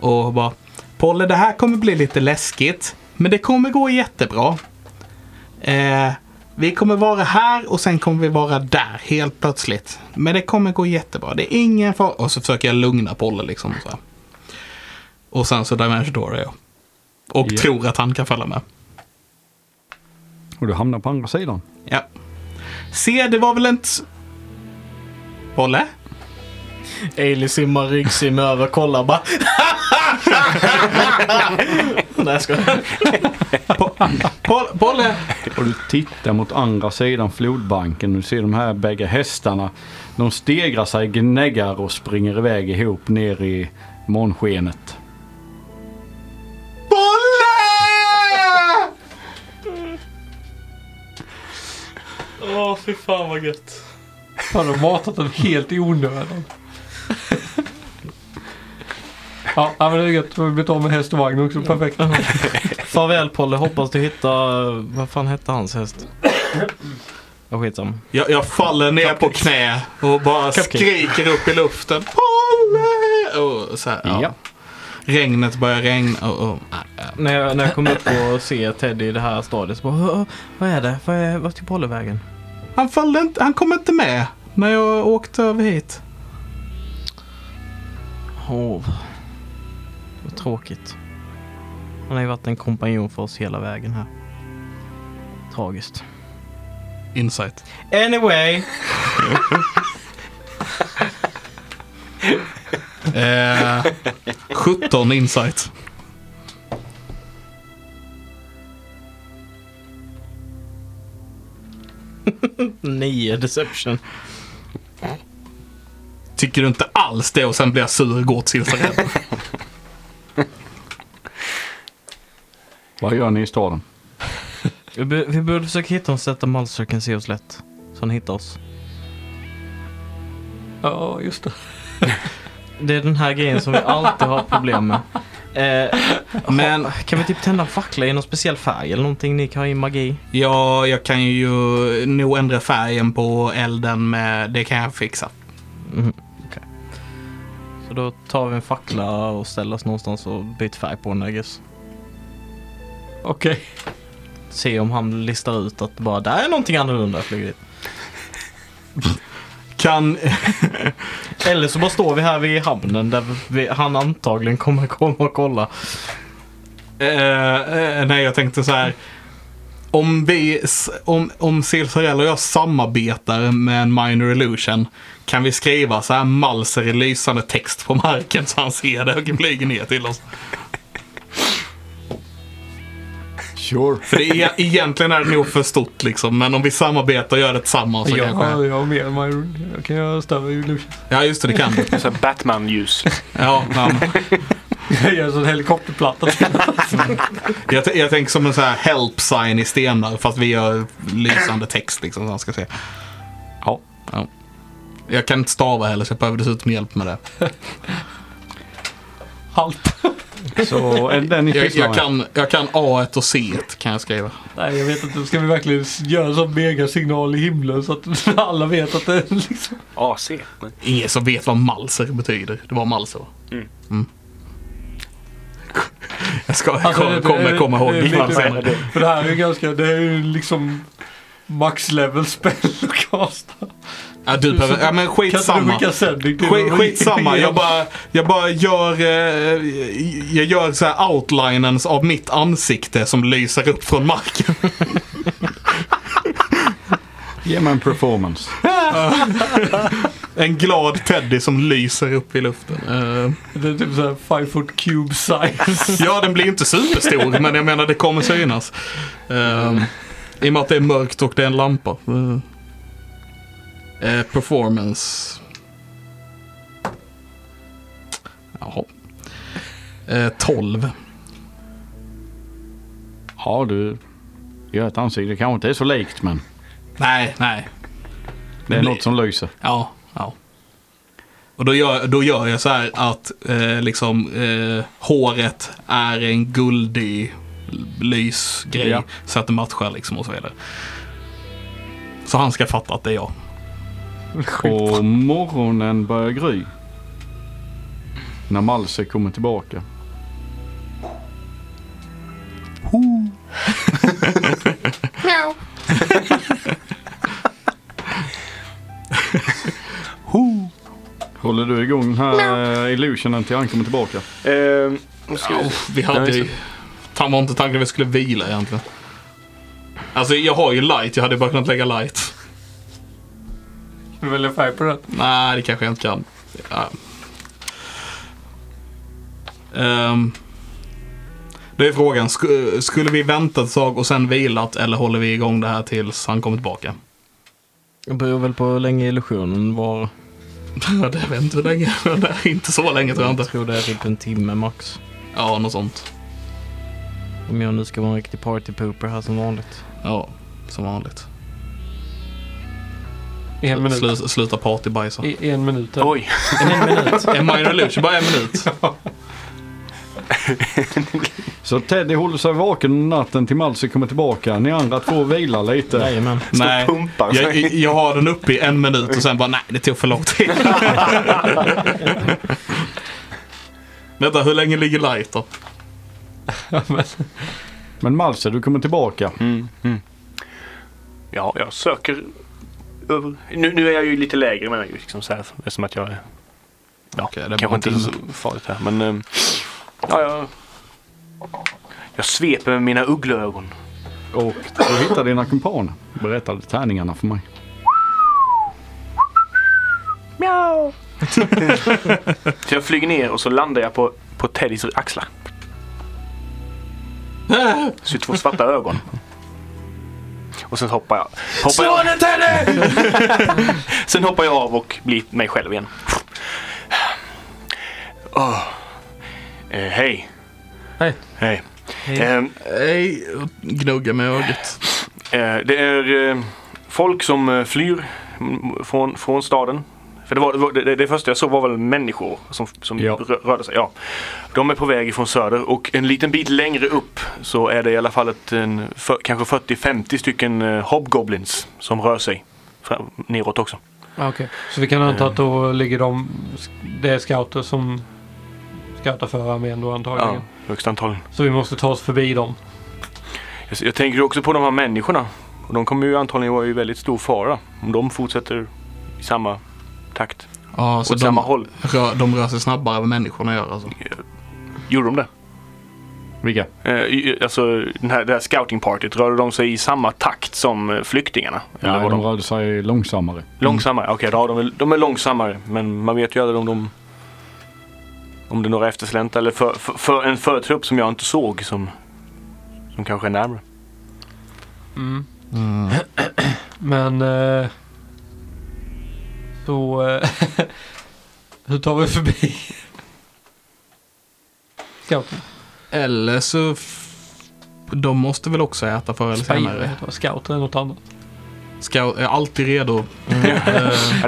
[SPEAKER 1] Och bara Polle, det här kommer bli lite läskigt. Men det kommer gå jättebra. Eh, vi kommer vara här och sen kommer vi vara där helt plötsligt. Men det kommer gå jättebra. Det är ingen fara. Och så försöker jag lugna Polle liksom. Så. här. Och sen så Dimension Door är jag. Och
[SPEAKER 3] Ja.
[SPEAKER 1] tror att han kan följa med.
[SPEAKER 3] Och du hamnar på andra sidan.
[SPEAKER 1] Ja. Se, det var väl inte... s- Polle?
[SPEAKER 2] Ailey simmar ryggsim över, kollar bara. Nej jag skojar.
[SPEAKER 1] Pol- Polle?
[SPEAKER 3] Och du tittar mot andra sidan flodbanken och du ser de här bägge hästarna. De stegrar sig, gnäggar och springer iväg ihop ner i månskenet.
[SPEAKER 1] Polle!
[SPEAKER 2] Åh fy fan vad gött.
[SPEAKER 4] Fan, de har matat den helt i onödan. Ja, ja, men det är gött. Vi har blivit av med häst och vagn också. Perfekt.
[SPEAKER 2] Farväl Polle, hoppas du hittar, vad fan hette hans häst? Jag skitsamma.
[SPEAKER 1] Jag, jag faller ner på knä och bara
[SPEAKER 2] Cupcake.
[SPEAKER 1] skriker upp i luften. Polle! Och så här, ja.
[SPEAKER 3] Ja.
[SPEAKER 1] Regnet börjar regna. Och, och.
[SPEAKER 2] När jag, när jag kom upp och ser Teddy i det här stadiet så bara, "Hå, vad är det? Vad är, vart är Pollevägen?
[SPEAKER 1] Han, följde inte, han kom inte med när jag åkte över hit.
[SPEAKER 2] Åh, vad tråkigt. Han har ju varit en kompanjon för oss hela vägen här. Tragiskt.
[SPEAKER 1] Insight.
[SPEAKER 2] Anyway.
[SPEAKER 1] Eh, 17 insight.
[SPEAKER 2] Nio deception.
[SPEAKER 1] Tycker du inte alls det och sen blir jag sur och går åt Silsared.
[SPEAKER 3] Vad gör ni i staden?
[SPEAKER 2] Vi, bu- vi borde försöka hitta oss där Malser kan se oss lätt. Så han hittar oss.
[SPEAKER 4] Ja, just det.
[SPEAKER 2] Det är den här grejen som vi alltid har problem med. Eh,
[SPEAKER 1] Men
[SPEAKER 2] kan vi typ tända en fackla i någon speciell färg eller någonting? Ni kan ha i magi.
[SPEAKER 1] ja, jag kan ju nog ändra färgen på elden med... Det kan jag fixa.
[SPEAKER 2] Så då tar vi en fackla och ställer oss någonstans och byter färg på den I guess.
[SPEAKER 4] Okej.
[SPEAKER 2] Se om han listar ut att bara, där är någonting annorlunda. Flyger dit.
[SPEAKER 1] Kan...
[SPEAKER 2] Eller så bara står vi här vid hamnen där vi, han antagligen kommer komma och kolla.
[SPEAKER 1] Eh, eh, nej, jag tänkte så här. Om, vi, s- om, om Silsarell och jag samarbetar med en minor illusion, kan vi skriva så här malser i lysande text på marken så han ser det och flyger ner till oss?
[SPEAKER 3] Sure.
[SPEAKER 1] För det är, e- egentligen är det nog för stort liksom, men om vi samarbetar och gör det tillsammans så
[SPEAKER 4] Jag
[SPEAKER 1] kanske...
[SPEAKER 4] har, jag har mer än my, Jag kan göra större illusion.
[SPEAKER 1] Ja, just det, det kan du.
[SPEAKER 5] Så här Batman-ljus.
[SPEAKER 1] Ja, ja, men
[SPEAKER 4] Jag gör en sån helikopterplatta.
[SPEAKER 1] jag, t- jag tänker som en så här help sign i stenar, fast vi gör lysande text liksom, så han ska se.
[SPEAKER 3] Ja.
[SPEAKER 1] ja. Jag kan inte stava heller, så jag behöver dessutom hjälp med det.
[SPEAKER 4] Halt.
[SPEAKER 3] Så är det den ni
[SPEAKER 1] Jag,
[SPEAKER 3] pysslar
[SPEAKER 1] jag,
[SPEAKER 3] med?
[SPEAKER 1] kan, jag kan A1 och C1 kan jag skriva.
[SPEAKER 4] Nej, jag vet inte. Ska vi verkligen göra en sån megasignal i himlen så att alla vet att det är liksom...
[SPEAKER 5] AC. Men...
[SPEAKER 1] Ingen som vet vad malser betyder. Det var malser va?
[SPEAKER 5] Mm.
[SPEAKER 1] Mm. Jag ska jag
[SPEAKER 4] Alltså,
[SPEAKER 1] kommer
[SPEAKER 4] det-
[SPEAKER 1] kommer
[SPEAKER 4] det-
[SPEAKER 1] komma ihåg
[SPEAKER 4] det- det-
[SPEAKER 1] det Alltså,
[SPEAKER 4] det-
[SPEAKER 1] senare.
[SPEAKER 4] För det här är ju ganska... Det är ju liksom max level spell och kasta.
[SPEAKER 1] Ja, du behöver, ja men
[SPEAKER 4] Kan inte du
[SPEAKER 1] skitsamma.
[SPEAKER 4] skicka sändning till
[SPEAKER 1] Skit,
[SPEAKER 4] dem?
[SPEAKER 1] skitsamma, jag bara, jag bara gör, eh, jag gör så här outlinens av mitt ansikte som lyser upp från marken.
[SPEAKER 3] Ge mig en performance.
[SPEAKER 1] En glad teddy som lyser upp i luften. Eh,
[SPEAKER 4] Det är typ såhär five foot cube size.
[SPEAKER 1] Ja, den blir ju inte superstor, men jag menar det kommer synas. Ehm, I och med att det är mörkt och det är en lampa. Mm. Eh, performance. Jaha. Eh, 12.
[SPEAKER 3] Ja, du gör ett ansikte. Det kanske inte är så likt, men
[SPEAKER 1] Nej, nej.
[SPEAKER 3] det är
[SPEAKER 1] blir-
[SPEAKER 3] något som lyser.
[SPEAKER 1] Ja, ja. Och då gör, då gör jag så här att eh, liksom eh, håret är en guldig lysgrej.
[SPEAKER 3] Ja.
[SPEAKER 1] Så att det matchar liksom och så vidare. Så han ska fatta att det är jag.
[SPEAKER 3] Och morgonen börjar gry. När Malse kommer tillbaka. Håller du igång den här eh, illusionen till han kommer tillbaka?
[SPEAKER 5] Eh, nu ska vi
[SPEAKER 1] Ja,
[SPEAKER 5] se.
[SPEAKER 1] vi
[SPEAKER 5] Ja,
[SPEAKER 1] hade
[SPEAKER 5] just
[SPEAKER 1] ju... Fan var inte tanken att vi skulle vila egentligen. Alltså jag har ju light, jag hade bara kunnat lägga light.
[SPEAKER 4] Kan du välja färg på den?
[SPEAKER 1] Nej, det kanske jag inte kan. Ja. Ehm, då är frågan, sk- skulle vi vänta ett tag och sen vilat eller håller vi igång det här tills han kommer tillbaka?
[SPEAKER 2] Det beror väl på hur länge illusionen var.
[SPEAKER 1] Ja, det vet inte hur länge. Det är inte så länge tror jag
[SPEAKER 2] Jag
[SPEAKER 1] inte.
[SPEAKER 2] tror det är typ en timme max.
[SPEAKER 1] Ja, något sånt.
[SPEAKER 2] Om jag nu ska vara en riktig partypooper här som vanligt.
[SPEAKER 1] Ja, som vanligt.
[SPEAKER 4] I en minut.
[SPEAKER 1] Slu- sluta partybajsa.
[SPEAKER 4] I en minut. eller?
[SPEAKER 5] Oj,
[SPEAKER 2] En minut.
[SPEAKER 1] En minor illusion, bara en minut.
[SPEAKER 3] Så Teddy håller sig vaken natten till Malse kommer tillbaka. Ni andra två vilar lite.
[SPEAKER 2] Jajamän.
[SPEAKER 1] Nej,
[SPEAKER 5] pumpar
[SPEAKER 1] jag,
[SPEAKER 5] sig.
[SPEAKER 1] jag har den uppe i en minut och sen bara nej, det tog för lång tid. Vänta, hur länge ligger light då?
[SPEAKER 3] Men Malse, du kommer tillbaka.
[SPEAKER 5] Ja, jag söker över... Nu, nu är jag ju lite lägre med mig. Liksom så här, eftersom att jag är... Ja,
[SPEAKER 1] Okej, det är bara
[SPEAKER 5] kanske inte
[SPEAKER 1] en
[SPEAKER 5] så farligt här. Men... ehm, ja, jag... Jag sveper med mina uggleögon.
[SPEAKER 3] Och du hittar dina kumpaner. Berättade tärningarna för mig.
[SPEAKER 5] Så jag flyger ner och så landar jag på, på Teddys axlar. Så två svarta ögon. Och sen hoppar jag. Hoppar Slå jag. nu Teddy! sen hoppar jag av och blir mig själv igen. Åh. Eh, hej.
[SPEAKER 2] Hej.
[SPEAKER 5] Hej.
[SPEAKER 2] Hej.
[SPEAKER 5] Ehm,
[SPEAKER 1] Nej, gnugga med ögat.
[SPEAKER 5] Eh, Det är eh, folk som eh, flyr mm, från, från staden. För det, var, det var- det, det första jag såg var väl människor som, som
[SPEAKER 3] Ja.
[SPEAKER 5] rö- rörde sig. Ja. De är på väg ifrån söder och en liten bit längre upp så är det i alla fall ett, en, för, kanske 40-50 stycken eh, hobgoblins som rör sig fram, neråt också.
[SPEAKER 4] Ah, Okej, så vi
[SPEAKER 1] Mm.
[SPEAKER 4] kan anta att då ligger de... Det är scouter som scoutar för armén då antagligen.
[SPEAKER 5] högst antagligen.
[SPEAKER 4] Så vi måste ta oss förbi dem.
[SPEAKER 5] Jag- Jag tänker också på de här människorna. Och de kommer ju antagligen vara i väldigt stor fara om de fortsätter i samma takt.
[SPEAKER 1] Ja, så
[SPEAKER 5] åt samma
[SPEAKER 1] de,
[SPEAKER 5] håll.
[SPEAKER 1] rör, de rör sig snabbare än vad människorna gör alltså.
[SPEAKER 5] Gjorde de det?
[SPEAKER 3] Vilka?
[SPEAKER 5] Eh, i- alltså den här, det här scoutingpartyt, rörde de sig i samma takt som eh, flyktingarna? Eller
[SPEAKER 3] Ja,
[SPEAKER 5] var
[SPEAKER 3] de
[SPEAKER 5] de
[SPEAKER 3] rörde sig långsammare.
[SPEAKER 5] långsammare? Okej, ja, de, är, de är långsammare. Men man vet ju aldrig om de... Om det är några efterslänta eller för, för, för en förtrupp som jag inte såg som, som kanske är närmare.
[SPEAKER 4] Mm. Men... Eh, så... Eh, hur tar vi förbi? Scouten.
[SPEAKER 1] Eller så... f- De måste väl också äta förr eller
[SPEAKER 4] Spajare
[SPEAKER 1] senare.
[SPEAKER 4] heter det. Scouter eller något annat.
[SPEAKER 1] Ska, är alltid redo.
[SPEAKER 5] Ja, det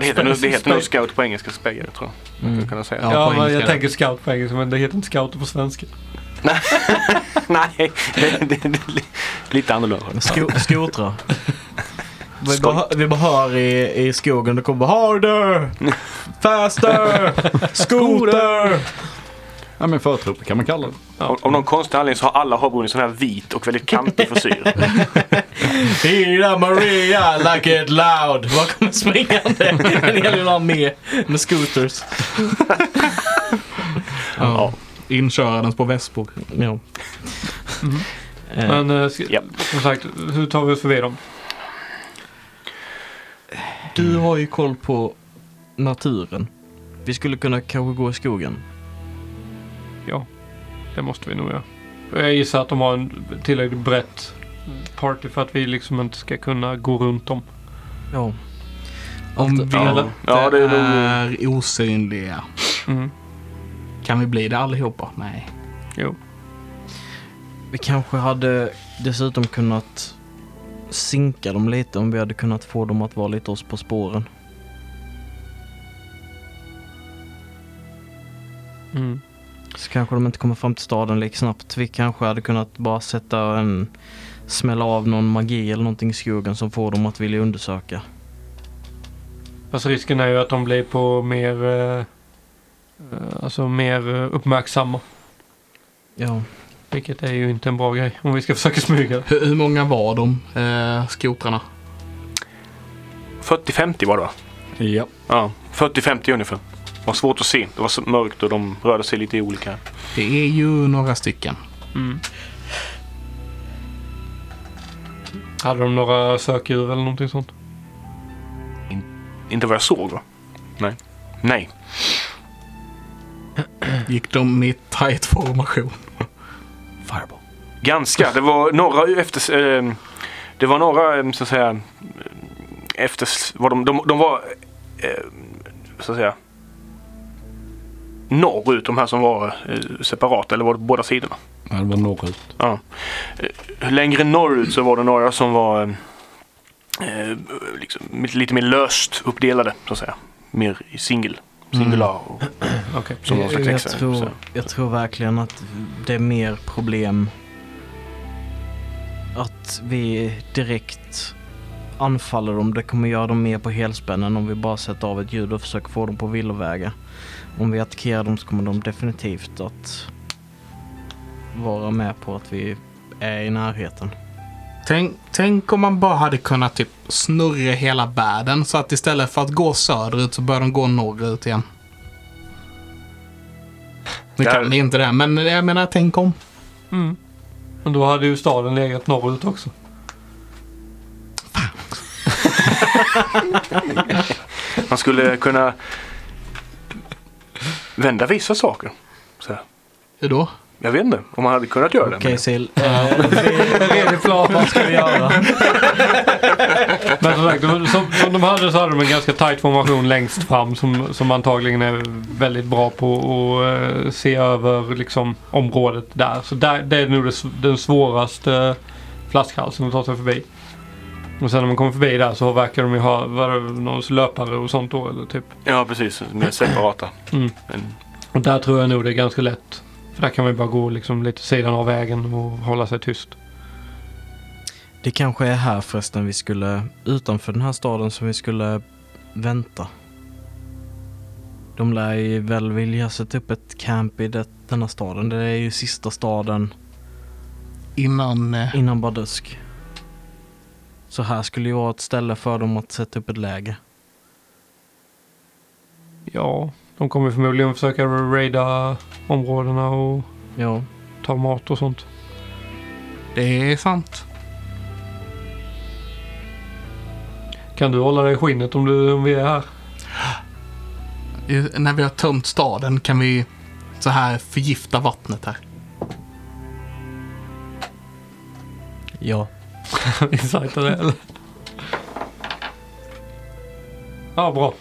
[SPEAKER 5] heter nog- det heter nog scout på engelska, spegare tror jag. Man skulle kunna säga.
[SPEAKER 1] Ja,
[SPEAKER 4] Ja,
[SPEAKER 1] på
[SPEAKER 4] men jag
[SPEAKER 1] engelska.
[SPEAKER 4] tänker scout på engelska men det heter inte scouter på svenska.
[SPEAKER 5] Nej, det, det, det, det, lite annorlunda.
[SPEAKER 2] Sko- skotrar. Vi bara, hör- vi bara hör i, i skogen, det kommer bara harder, faster, skoter.
[SPEAKER 3] Ja, men förtrupper kan man kalla det.
[SPEAKER 5] Om, om någon konstig anledning så har alla hobron en sån här vit och väldigt kantig frisyr.
[SPEAKER 2] Hira Maria, like it loud. Vad kommer springande? Det gäller ju att ha med, med scooters.
[SPEAKER 1] Ja. Inkörandes på Vespor.
[SPEAKER 2] Ja. Eh,
[SPEAKER 4] Men eh, sk-
[SPEAKER 5] Japp.
[SPEAKER 4] som sagt, hur tar vi oss förbi dem?
[SPEAKER 2] Du har ju koll på naturen. Vi skulle kunna kanske gå i skogen.
[SPEAKER 4] Ja, det måste vi nog göra. Jag gissar att de har en tillräckligt brett party för att vi liksom inte ska kunna gå runt dem.
[SPEAKER 2] Ja.
[SPEAKER 1] Om vi
[SPEAKER 5] Ja.
[SPEAKER 1] inte
[SPEAKER 5] Ja, det är nog-
[SPEAKER 1] är osynliga.
[SPEAKER 2] Mm.
[SPEAKER 1] Kan vi bli det allihopa? Nej.
[SPEAKER 4] Jo.
[SPEAKER 2] Vi kanske hade dessutom kunnat sinka dem lite om vi hade kunnat få dem att vara lite oss på spåren.
[SPEAKER 4] Mm.
[SPEAKER 2] Så kanske de inte kommer fram till staden lika snabbt. Vi kanske hade kunnat bara sätta en smälla av någon magi eller någonting i skogen som får dem att vilja undersöka.
[SPEAKER 4] Fast risken är ju att de blir på mer, eh, eh, alltså mer eh, uppmärksamma.
[SPEAKER 2] Ja,
[SPEAKER 4] Vilket är ju inte en bra grej om vi ska försöka smyga.
[SPEAKER 1] Hur, hur många var de, eh, skotrarna?
[SPEAKER 5] 40-50 var det va?
[SPEAKER 3] Ja.
[SPEAKER 5] Ja, 40-50 ungefär. Det var svårt att se. Det var så mörkt och de rörde sig lite i olika.
[SPEAKER 1] Det är ju några stycken.
[SPEAKER 4] Hade de några sökdjur eller någonting sånt?
[SPEAKER 5] Inte vad jag såg va? Nej. Nej.
[SPEAKER 1] Gick de i tight formation?
[SPEAKER 2] fireball.
[SPEAKER 5] Ganska. Det var några efter... Eh, det var några, eh, så att säga... eh, Efter... Var de, de, de var... Eh, så att säga... Norrut, de här som var eh, separata, eller var det på båda sidorna?
[SPEAKER 3] Ja, det var norrut.
[SPEAKER 5] Ja. Eh, Längre norrut så var det några som var eh, eh, liksom, lite mer löst uppdelade, så att säga. Mer i singel. Singular. Och,
[SPEAKER 4] Okej.
[SPEAKER 5] som
[SPEAKER 2] Jag,
[SPEAKER 5] någon slags
[SPEAKER 2] Mm. jag,
[SPEAKER 5] växel, så.
[SPEAKER 2] tror, jag tror verkligen att det är mer problem att vi direkt anfaller dem. Det kommer göra dem mer på helspänn än om vi bara sätter av ett ljud och försöker få dem på villovägar. Om vi attackerar dem så kommer de definitivt att vara med på att vi är i närheten.
[SPEAKER 1] Tänk, tänk om man bara hade kunnat typ snurra hela världen så att istället för att gå söderut så börjar de gå norrut igen. Nu
[SPEAKER 5] Ja.
[SPEAKER 1] kan ni inte det, men jag menar tänk om.
[SPEAKER 4] Mm. Men då hade ju staden legat norrut också.
[SPEAKER 5] Man skulle kunna vända vissa saker. Så här.
[SPEAKER 1] Hur då?
[SPEAKER 5] Jag vet inte om man hade kunnat göra det.
[SPEAKER 2] Okej Sil, eh, vi- vad ska vi göra?
[SPEAKER 4] Men som sagt, de- som, som de hade så hade de en ganska tight formation längst fram som, som antagligen är väldigt bra på att eh, se över liksom, området där. Så där, det är nog det, s- den svåraste eh, flaskhalsen att ta sig förbi. Och sen när man kommer förbi där så verkar de ju ha vad är det, någon löpare och sånt då. Eller typ.
[SPEAKER 5] Men, ja, precis. Mer separata.
[SPEAKER 4] Mm.
[SPEAKER 5] Men,
[SPEAKER 4] Och där tror jag nog det är ganska lätt. För där kan man ju bara gå liksom, lite sidan av vägen och hålla sig tyst.
[SPEAKER 2] Det kanske är här förresten vi skulle, utanför den här staden som vi skulle vänta. De lär ju väl vilja sätta upp ett camp i det, denna staden. Det är ju sista staden
[SPEAKER 1] innan... eh,
[SPEAKER 2] innan Bardusk. Så här skulle ju vara ett ställe för dem att sätta upp ett läger.
[SPEAKER 4] Ja, de kommer förmodligen försöka raida områdena och
[SPEAKER 2] Ja,
[SPEAKER 4] ta mat och sånt.
[SPEAKER 1] Det är sant.
[SPEAKER 4] Kan du hålla dig i skinnet om, du, om vi är här?
[SPEAKER 1] Eh, När vi har tömt staden kan vi så här förgifta vattnet här.
[SPEAKER 2] ja.
[SPEAKER 4] Insight eller? Ja, bra.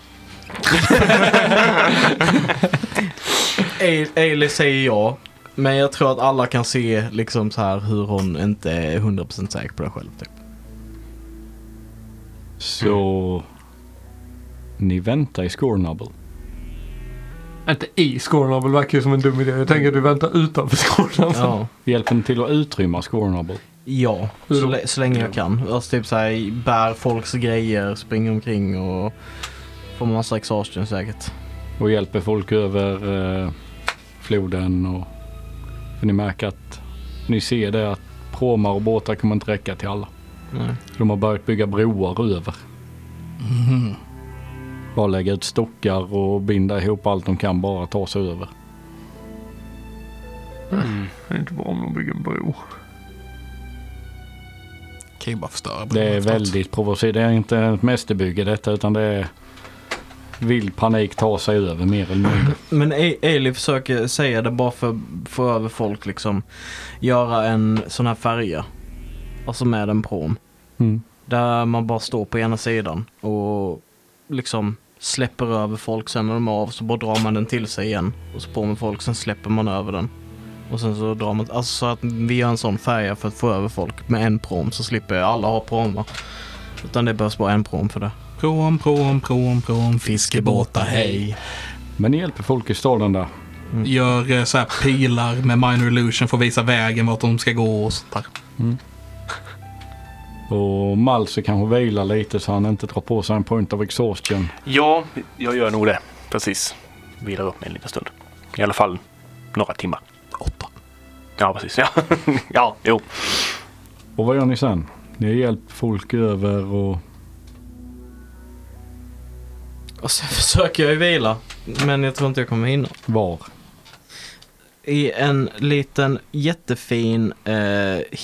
[SPEAKER 2] A- Ailey säger ja. Men jag tror att alla kan se liksom så här hur hon inte är 100% säker på det själv. Typ.
[SPEAKER 3] Så ni väntar i Scornable.
[SPEAKER 4] Inte i Scornable verkar ju som en dum idé. Jag tänker att du väntar utanför Scornable.
[SPEAKER 2] Ja.
[SPEAKER 3] Hjälper ni till att utrymma Scornable?
[SPEAKER 2] Ja, så, lä- så länge jag kan. Alltså typ så här, bär folks grejer, springer omkring och får massa exhaustion säkert.
[SPEAKER 3] Och hjälper folk över eh, floden och... För ni märker att ni ser det att pråmar och båtar kommer inte räcka till alla.
[SPEAKER 2] Nej.
[SPEAKER 3] De har börjat bygga broar över. Bara lägga ut stockar och binda ihop allt de kan bara ta sig över.
[SPEAKER 4] Det är inte bra om de bygger en bro.
[SPEAKER 1] Kan ju bara förstöra.
[SPEAKER 3] Det är
[SPEAKER 1] bron efteråt.
[SPEAKER 3] väldigt provocerande. Det är inte ett mästerbygge detta utan det är vild panik ta sig över mer eller mindre.
[SPEAKER 2] Men A- Ailey försöker säga det bara för att få över folk liksom. Göra en sån här färja. Alltså med en prom.
[SPEAKER 3] Mm.
[SPEAKER 2] Där man bara står på ena sidan och liksom släpper över folk. Sen när de är av så bara drar man den till sig igen. Och så på med folk, sen släpper man över den. Och sen så drar man, alltså så att vi gör en sån färja för att få över folk med en prom så slipper alla ha promar. Utan det behövs bara en prom för det.
[SPEAKER 1] Prom, prom, prom, prom, fiskebåtar, hej.
[SPEAKER 3] Men ni hjälper folk i staden där.
[SPEAKER 1] Gör eh, så här pilar med minor illusion för att visa vägen vart de ska gå och sånt där.
[SPEAKER 3] Och Malse kanske vilar lite så han inte drar på sig en point of exhaustion.
[SPEAKER 5] Ja, jag gör nog det. Precis. Vilar upp mig en liten stund. I alla fall några timmar.
[SPEAKER 1] Åtta.
[SPEAKER 5] Ja, precis. Ja, ja jo.
[SPEAKER 3] Och vad gör ni sen? Ni har hjälpt folk över och...
[SPEAKER 2] Och sen försöker jag ju vila. Men jag tror inte jag kommer hinna.
[SPEAKER 3] Var?
[SPEAKER 2] I en liten jättefin, eh,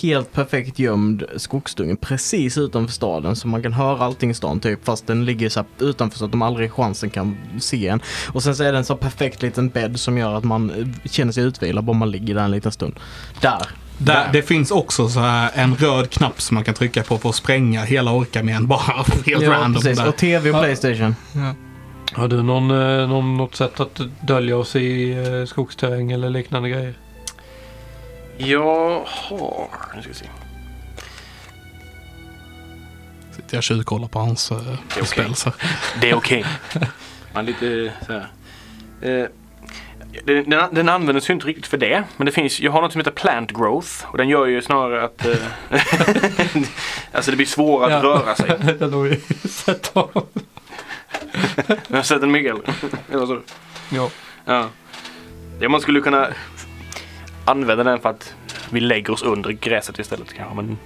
[SPEAKER 2] helt perfekt gömd skogsdunge precis utanför staden. Så man kan höra allting i stan typ. Fast den ligger så här utanför så att de aldrig chansen kan se en. Och sen så är det en så här perfekt liten bädd som gör att man eh, känner sig utvilad bara man ligger där en liten stund. Där.
[SPEAKER 1] Där, det finns också så här en röd knapp som man kan trycka på för att spränga hela Orkamen bara helt random.
[SPEAKER 2] precis.
[SPEAKER 1] Där.
[SPEAKER 2] Och tv och Playstation.
[SPEAKER 4] Har du någon, eh, någon, något sätt att dölja oss i eh, skogsterräng eller liknande grejer?
[SPEAKER 5] Jag har... Nu ska vi se.
[SPEAKER 1] Sitter jag och tjuvkollar på hans uh,
[SPEAKER 5] okej.
[SPEAKER 1] spells här.
[SPEAKER 5] Det är okej. Man är lite så här. Eh, Den, den, den användes ju inte riktigt för det. Men det finns, jag har något som heter plant growth. Och den gör ju snarare att... eh, alltså det blir svårare att
[SPEAKER 4] Ja.
[SPEAKER 5] röra sig.
[SPEAKER 4] Den har vi sett av.
[SPEAKER 5] Jag har sett en Miguel. Eller så.
[SPEAKER 4] Ja.
[SPEAKER 5] Ja. ja. Man skulle kunna använda den för att vi lägger oss under gräset istället kanske. Men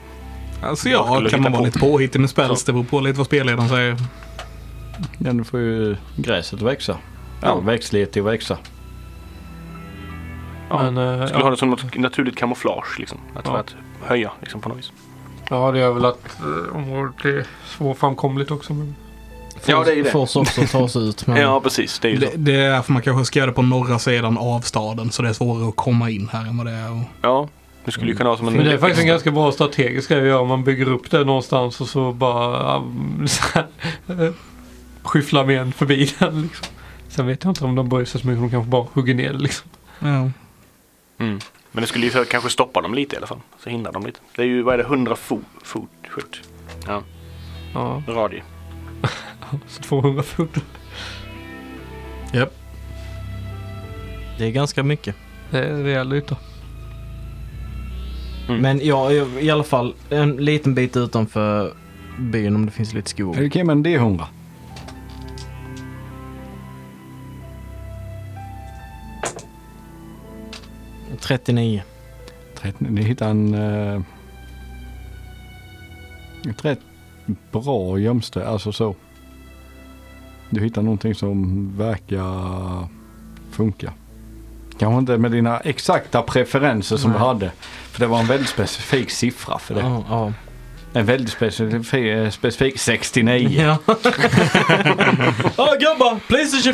[SPEAKER 1] Alltså
[SPEAKER 5] Jag
[SPEAKER 1] ja,
[SPEAKER 5] skulle
[SPEAKER 1] kan
[SPEAKER 5] hitta
[SPEAKER 1] man vara
[SPEAKER 5] på.
[SPEAKER 1] lite påhittig med spells.
[SPEAKER 5] Så.
[SPEAKER 1] Det beror på lite vad spelledaren säger.
[SPEAKER 3] Ja, nu får ju gräset växa. All växtlighet till att växa.
[SPEAKER 5] Ja.
[SPEAKER 4] Men, eh,
[SPEAKER 5] skulle
[SPEAKER 4] ja.
[SPEAKER 5] ha det som något naturligt kamouflage. Liksom. Att,
[SPEAKER 4] Ja.
[SPEAKER 5] för att höja liksom, på något vis.
[SPEAKER 4] ja, det gör väl att eh, området är svårframkomligt också. Men...
[SPEAKER 5] Ja, det är ju det.
[SPEAKER 2] Får oss också ta oss ut.
[SPEAKER 4] Mm.
[SPEAKER 2] Men...
[SPEAKER 5] Ja precis, det är ju så.
[SPEAKER 1] Det, det är därför man kanske ska göra det på norra sidan av staden. Så det är svårare att komma in här än vad det är. Och...
[SPEAKER 5] Ja, du skulle ju kunna ha som en...
[SPEAKER 4] Mm. Men det är faktiskt en ganska bra strategisk grej att göra. Man bygger upp det någonstans och så bara um, så här, eh, skyfflar med en förbi den. Liksom. Sen vet jag inte om de bryr sig så mycket. De kanske bara hugger ner det liksom.
[SPEAKER 1] Ja.
[SPEAKER 5] Mm. Men det skulle ju för- kanske stoppa dem lite i alla fall. Så hindrar dem lite. Det är ju, vad är det, 100 fo- fot? Fot? Ja,
[SPEAKER 4] Ja,
[SPEAKER 5] radie.
[SPEAKER 4] så 200 fot.
[SPEAKER 2] Det är ganska mycket.
[SPEAKER 4] Det är en rejäl yta.
[SPEAKER 5] Mm.
[SPEAKER 2] Men ja, i- i alla fall en liten bit utanför byn om det finns lite skog.
[SPEAKER 3] Är det okej med en D100?
[SPEAKER 2] Mm. 39.
[SPEAKER 3] 39. Ni hittar en... Eh, ett rätt bra gömställe, alltså så. Du hittar någonting som verkar funka. Kanske inte med dina exakta preferenser som
[SPEAKER 2] Nej.
[SPEAKER 3] du hade. För det var en väldigt specifik siffra för det.
[SPEAKER 2] Ja, ja.
[SPEAKER 3] En väldigt specifik, specifik 69.
[SPEAKER 2] Ja. Ja, grabbar! Playstation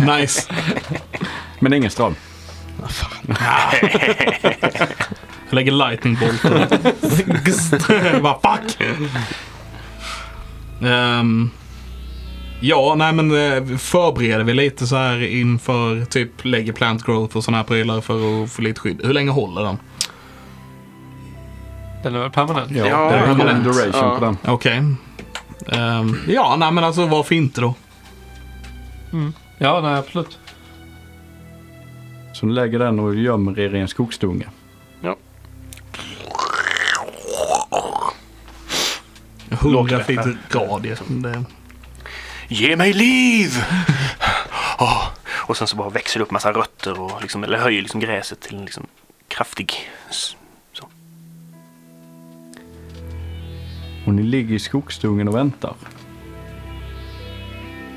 [SPEAKER 2] 24!
[SPEAKER 1] Nice.
[SPEAKER 3] Men ingen ström.
[SPEAKER 1] Jag lägger lightning bolt. Bara fuck! Ehm, ja, nej men eh, förbereder vi lite så här inför typ lägger plant growth och sådana här prylar för att få lite skydd. Hur länge håller den?
[SPEAKER 4] Den är väl permanent?
[SPEAKER 3] Ja,
[SPEAKER 5] Ja,
[SPEAKER 3] det är en
[SPEAKER 1] permanent.
[SPEAKER 3] duration
[SPEAKER 5] Ja.
[SPEAKER 3] på den.
[SPEAKER 1] Okej. Ehm, ja, nej men alltså varför inte då?
[SPEAKER 4] Ja, nej absolut.
[SPEAKER 3] Så ni lägger den och gömmer er i en skogsdunge.
[SPEAKER 1] Hundra feet radie. Det-
[SPEAKER 5] Ge mig liv! Åh, Och sen så bara växer det upp massa rötter och liksom, eller höjer liksom gräset till en liksom kraftig... s-
[SPEAKER 3] Och ni ligger i skogsdungen och väntar.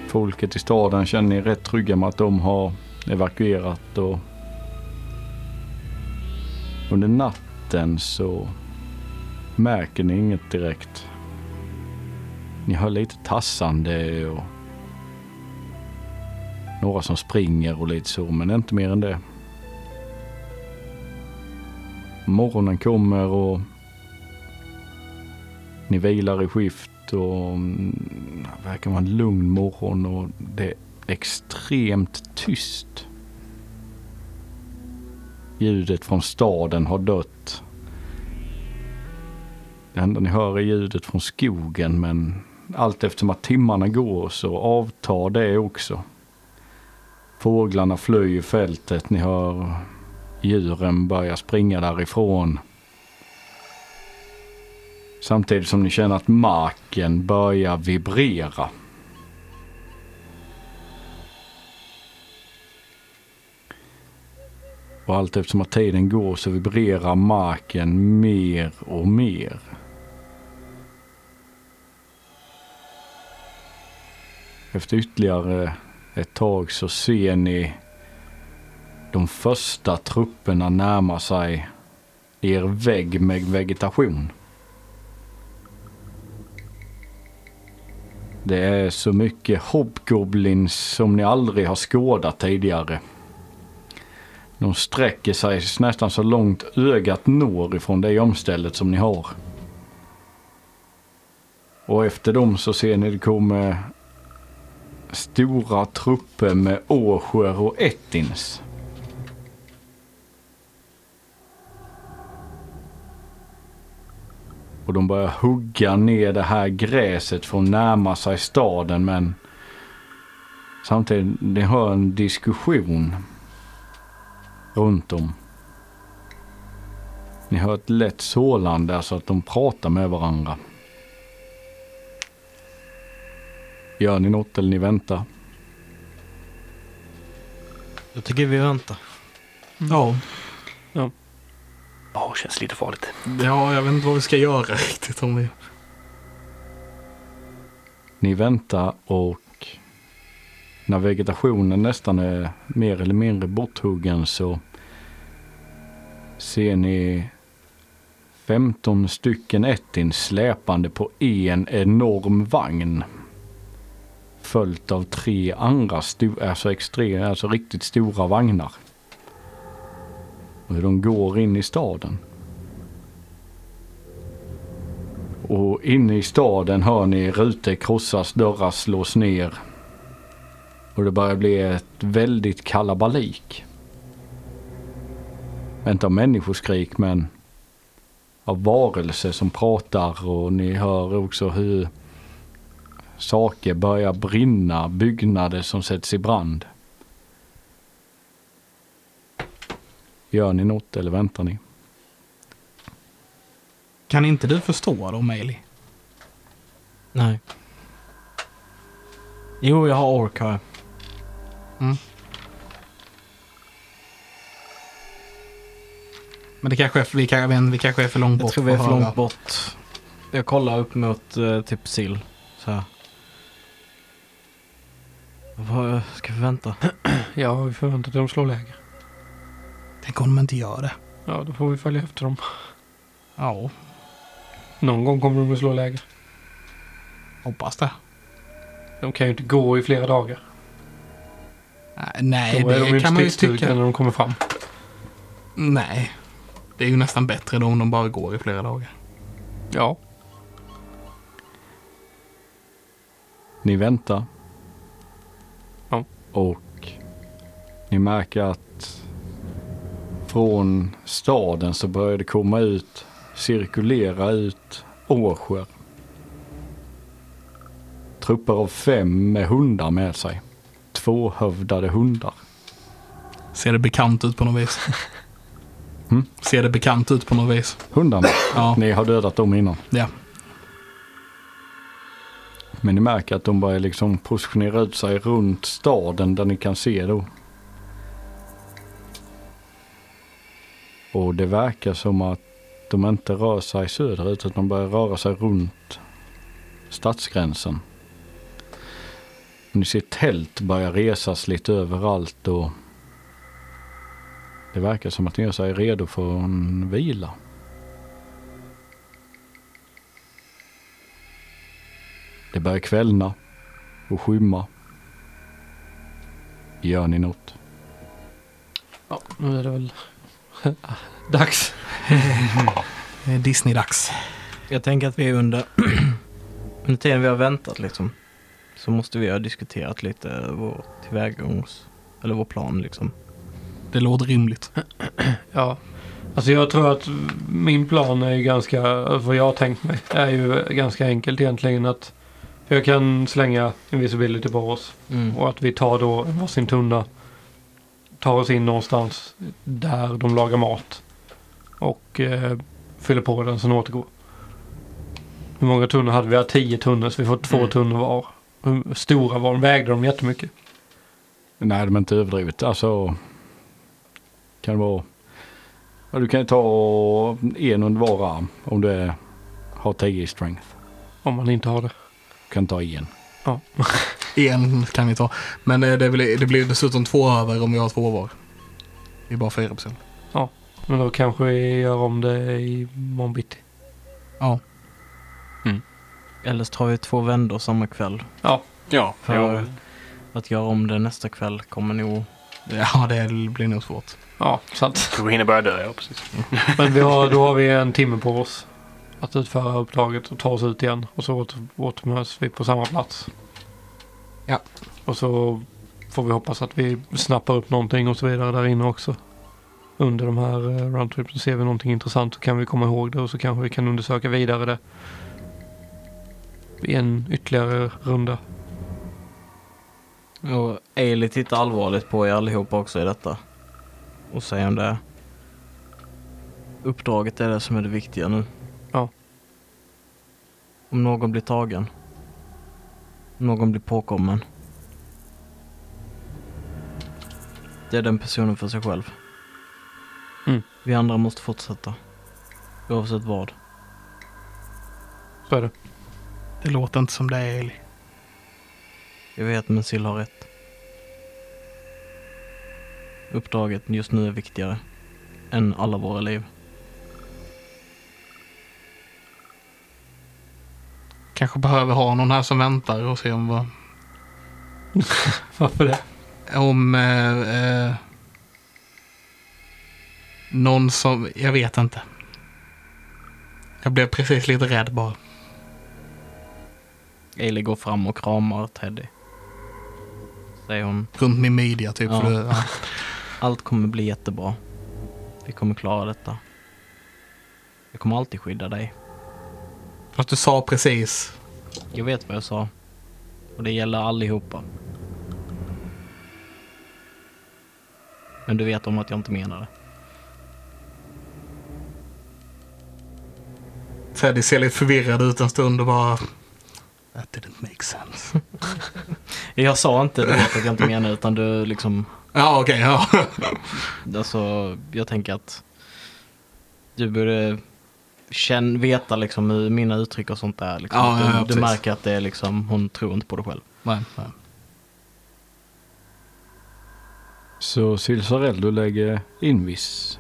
[SPEAKER 3] Folket i staden känner er rätt trygga med att de har evakuerat och under natten så märker ni inget direkt. Ni hör lite tassande och några som springer och lite så, men inte mer än det. Morgonen kommer och ni vilar i skift och mm, det verkar vara en lugn morgon och det är extremt tyst. Ljudet från staden har dött. Det enda ni hör är ljudet från skogen men allt eftersom att timmarna går så avtar det också. Fåglarna flyr i fältet, ni hör djuren börja springa därifrån. Samtidigt som ni känner att marken börjar vibrera. Och allt eftersom att tiden går så vibrerar marken mer och mer. Efter ytterligare ett tag så ser ni de första trupperna närma sig er vägg med vegetation. Det är så mycket hobgoblins som ni aldrig har skådat tidigare. De sträcker sig nästan så långt ögat når ifrån det omstället som ni har. Och efter dem så ser ni det kommer stora trupper med åsjor och ettins. och de börjar hugga ner det här gräset för att närma sig staden men samtidigt, ni hör en diskussion runt om. Ni hör ett lätt sålande, alltså att de pratar med varandra. Gör ni något eller ni väntar?
[SPEAKER 2] Jag tycker vi väntar.
[SPEAKER 1] Ja.
[SPEAKER 5] Ja, känns lite farligt.
[SPEAKER 1] ja, jag vet inte vad vi ska göra riktigt om vi...
[SPEAKER 3] Ni väntar och när vegetationen nästan är mer eller mindre borthuggen så ser ni 15 stycken ettin släpande på en enorm vagn. Följt av tre andra sto- alltså extre- alltså riktigt stora vagnar. Och hur de går in i staden. Och inne i staden hör ni rutor krossas, dörrar slås ner. Och det börjar bli ett väldigt kalabalik. Inte av människoskrik men av varelser som pratar och ni hör också hur saker börjar brinna, byggnader som sätts i brand. Gör ni något eller väntar ni?
[SPEAKER 1] Kan inte du förstå då, Meili?
[SPEAKER 2] Nej. Jo, jag har ork har jag.
[SPEAKER 1] Men det kanske är, vi, kan, men vi kanske är för långt bort.
[SPEAKER 2] Jag tror vi är
[SPEAKER 1] att
[SPEAKER 2] för
[SPEAKER 1] höra.
[SPEAKER 2] långt bort. Jag kollar upp mot eh, typ sill. Så här. Vad ska vi vänta?
[SPEAKER 4] Ja, vi förväntar oss att de slår läger.
[SPEAKER 1] Tänk om de inte gör det.
[SPEAKER 4] Ja, då får vi följa efter dem.
[SPEAKER 1] Ja,
[SPEAKER 4] Någon gång kommer de att slå läger.
[SPEAKER 1] hoppas det.
[SPEAKER 4] De kan ju inte gå i flera dagar.
[SPEAKER 1] Nej, Nej,
[SPEAKER 4] Då är de ju
[SPEAKER 1] det
[SPEAKER 4] inte
[SPEAKER 1] kan man ju
[SPEAKER 4] stridsdugliga
[SPEAKER 1] tycka.
[SPEAKER 4] när de kommer fram.
[SPEAKER 1] Nej. Det är ju nästan bättre då om de bara går i flera dagar.
[SPEAKER 4] Ja.
[SPEAKER 3] Ni väntar.
[SPEAKER 4] Ja.
[SPEAKER 3] Och ni märker att från staden så börjar det komma ut, cirkulera ut årsjör. Trupper av fem med hundar med sig. Tvåhövdade hundar.
[SPEAKER 1] Ser det bekant ut på något vis?
[SPEAKER 3] Mm.
[SPEAKER 1] Ser det bekant ut på något vis?
[SPEAKER 3] Hundarna,
[SPEAKER 1] Ja.
[SPEAKER 3] ni har dödat dem innan.
[SPEAKER 1] Ja.
[SPEAKER 3] Men ni märker att de börjar liksom positionera ut sig runt staden där ni kan se då. Och det verkar som att de inte rör sig söderut utan de börjar röra sig runt stadsgränsen. Ni ser tält börja resas lite överallt och det verkar som att de gör sig redo för en vila. Det börjar kvällna och skymma. Gör ni något?
[SPEAKER 4] ja, nu är det väl dags.
[SPEAKER 1] Det är Disney-dags.
[SPEAKER 2] Jag tänker att vi är under, under tiden vi har väntat liksom. Så måste vi ha diskuterat lite vår tillvägagångs... Eller vår plan liksom.
[SPEAKER 1] Det låter rimligt.
[SPEAKER 4] Ja. Alltså jag tror att min plan är ju ganska, vad jag har tänkt mig, är ju ganska enkelt egentligen att jag kan slänga invisibility på oss och att vi tar då en varsin tunna, tar oss in någonstans där de lagar mat och eh, fyller på den sen återgår. Hur många tunnor hade vi? Vi hade tio tunnor så vi får två
[SPEAKER 2] Mm.
[SPEAKER 4] tunnor var. Hur stora var de? Vägde de jättemycket?
[SPEAKER 3] Nej, de är inte överdrivet. Alltså, kan det vara... Ja, du kan ju ta en under var arm om du är, har 10 i strength.
[SPEAKER 4] Om man inte har det.
[SPEAKER 3] Du kan ta en.
[SPEAKER 1] En kan vi ta. Men eh, det blir, det blir dessutom två över om vi har två var. Vi är bara fyra personer.
[SPEAKER 4] Men då kanske vi gör om det i morgon bitti.
[SPEAKER 1] Ja.
[SPEAKER 2] Eller så tar vi två vändor samma kväll.
[SPEAKER 5] Ja,
[SPEAKER 2] För att göra om det nästa kväll kommer nog...
[SPEAKER 1] Ja, det blir nog svårt.
[SPEAKER 4] Ja, sant.
[SPEAKER 5] kanske hinner börja dö. Ja, precis.
[SPEAKER 4] Men vi har, då har vi en timme på oss att utföra uppdraget och ta oss ut igen. Och så åter, återmöts vi på samma plats.
[SPEAKER 1] Ja.
[SPEAKER 4] Och så får vi hoppas att vi snappar upp någonting och så vidare där inne också. Under de här eh, roundtripsen ser vi någonting intressant så kan vi komma ihåg det och så kanske vi kan undersöka vidare det. I en ytterligare runda.
[SPEAKER 2] Och Ailey tittar allvarligt på er allihopa också i detta. Och säger om det. Uppdraget är det som är det viktiga nu.
[SPEAKER 4] Ja.
[SPEAKER 2] Om någon blir tagen. Om någon blir påkommen. Det är den personen för sig själv.
[SPEAKER 4] Mm.
[SPEAKER 2] Vi andra måste fortsätta. Oavsett vad.
[SPEAKER 4] Så är det.
[SPEAKER 1] Det låter inte som det är Eli.
[SPEAKER 2] Jag vet men Sill har rätt. Uppdraget just nu är viktigare än alla våra liv.
[SPEAKER 1] Kanske behöver ha någon här som väntar och se om vad...
[SPEAKER 4] Varför det?
[SPEAKER 1] Om... Eh, eh, någon som... Jag vet inte. Jag blev precis lite rädd bara.
[SPEAKER 2] Ailey går fram och kramar Teddy. Säger hon,
[SPEAKER 1] Runt min midja typ.
[SPEAKER 2] Ja.
[SPEAKER 1] För det, ja.
[SPEAKER 2] allt kommer bli jättebra. Vi kommer klara detta. Jag kommer alltid skydda dig.
[SPEAKER 1] Fast du sa precis.
[SPEAKER 2] Jag vet vad jag sa. Och det gäller allihopa. Men du vet om att jag inte menar det.
[SPEAKER 1] Teddy ser lite förvirrad ut en stund och bara... That didn't make sense.
[SPEAKER 2] Jag sa inte du vet att jag inte menar det, utan du liksom
[SPEAKER 1] Ja, okej. ja.
[SPEAKER 2] Alltså, jag tänker att du borde känn, veta liksom hur mina uttryck och sånt är. Liksom.
[SPEAKER 1] Ja, ja, ja,
[SPEAKER 2] du, du
[SPEAKER 1] precis.
[SPEAKER 2] märker att det är liksom, hon tror inte på det själv.
[SPEAKER 1] Nej, nej.
[SPEAKER 3] Så Silsarell, du lägger invis.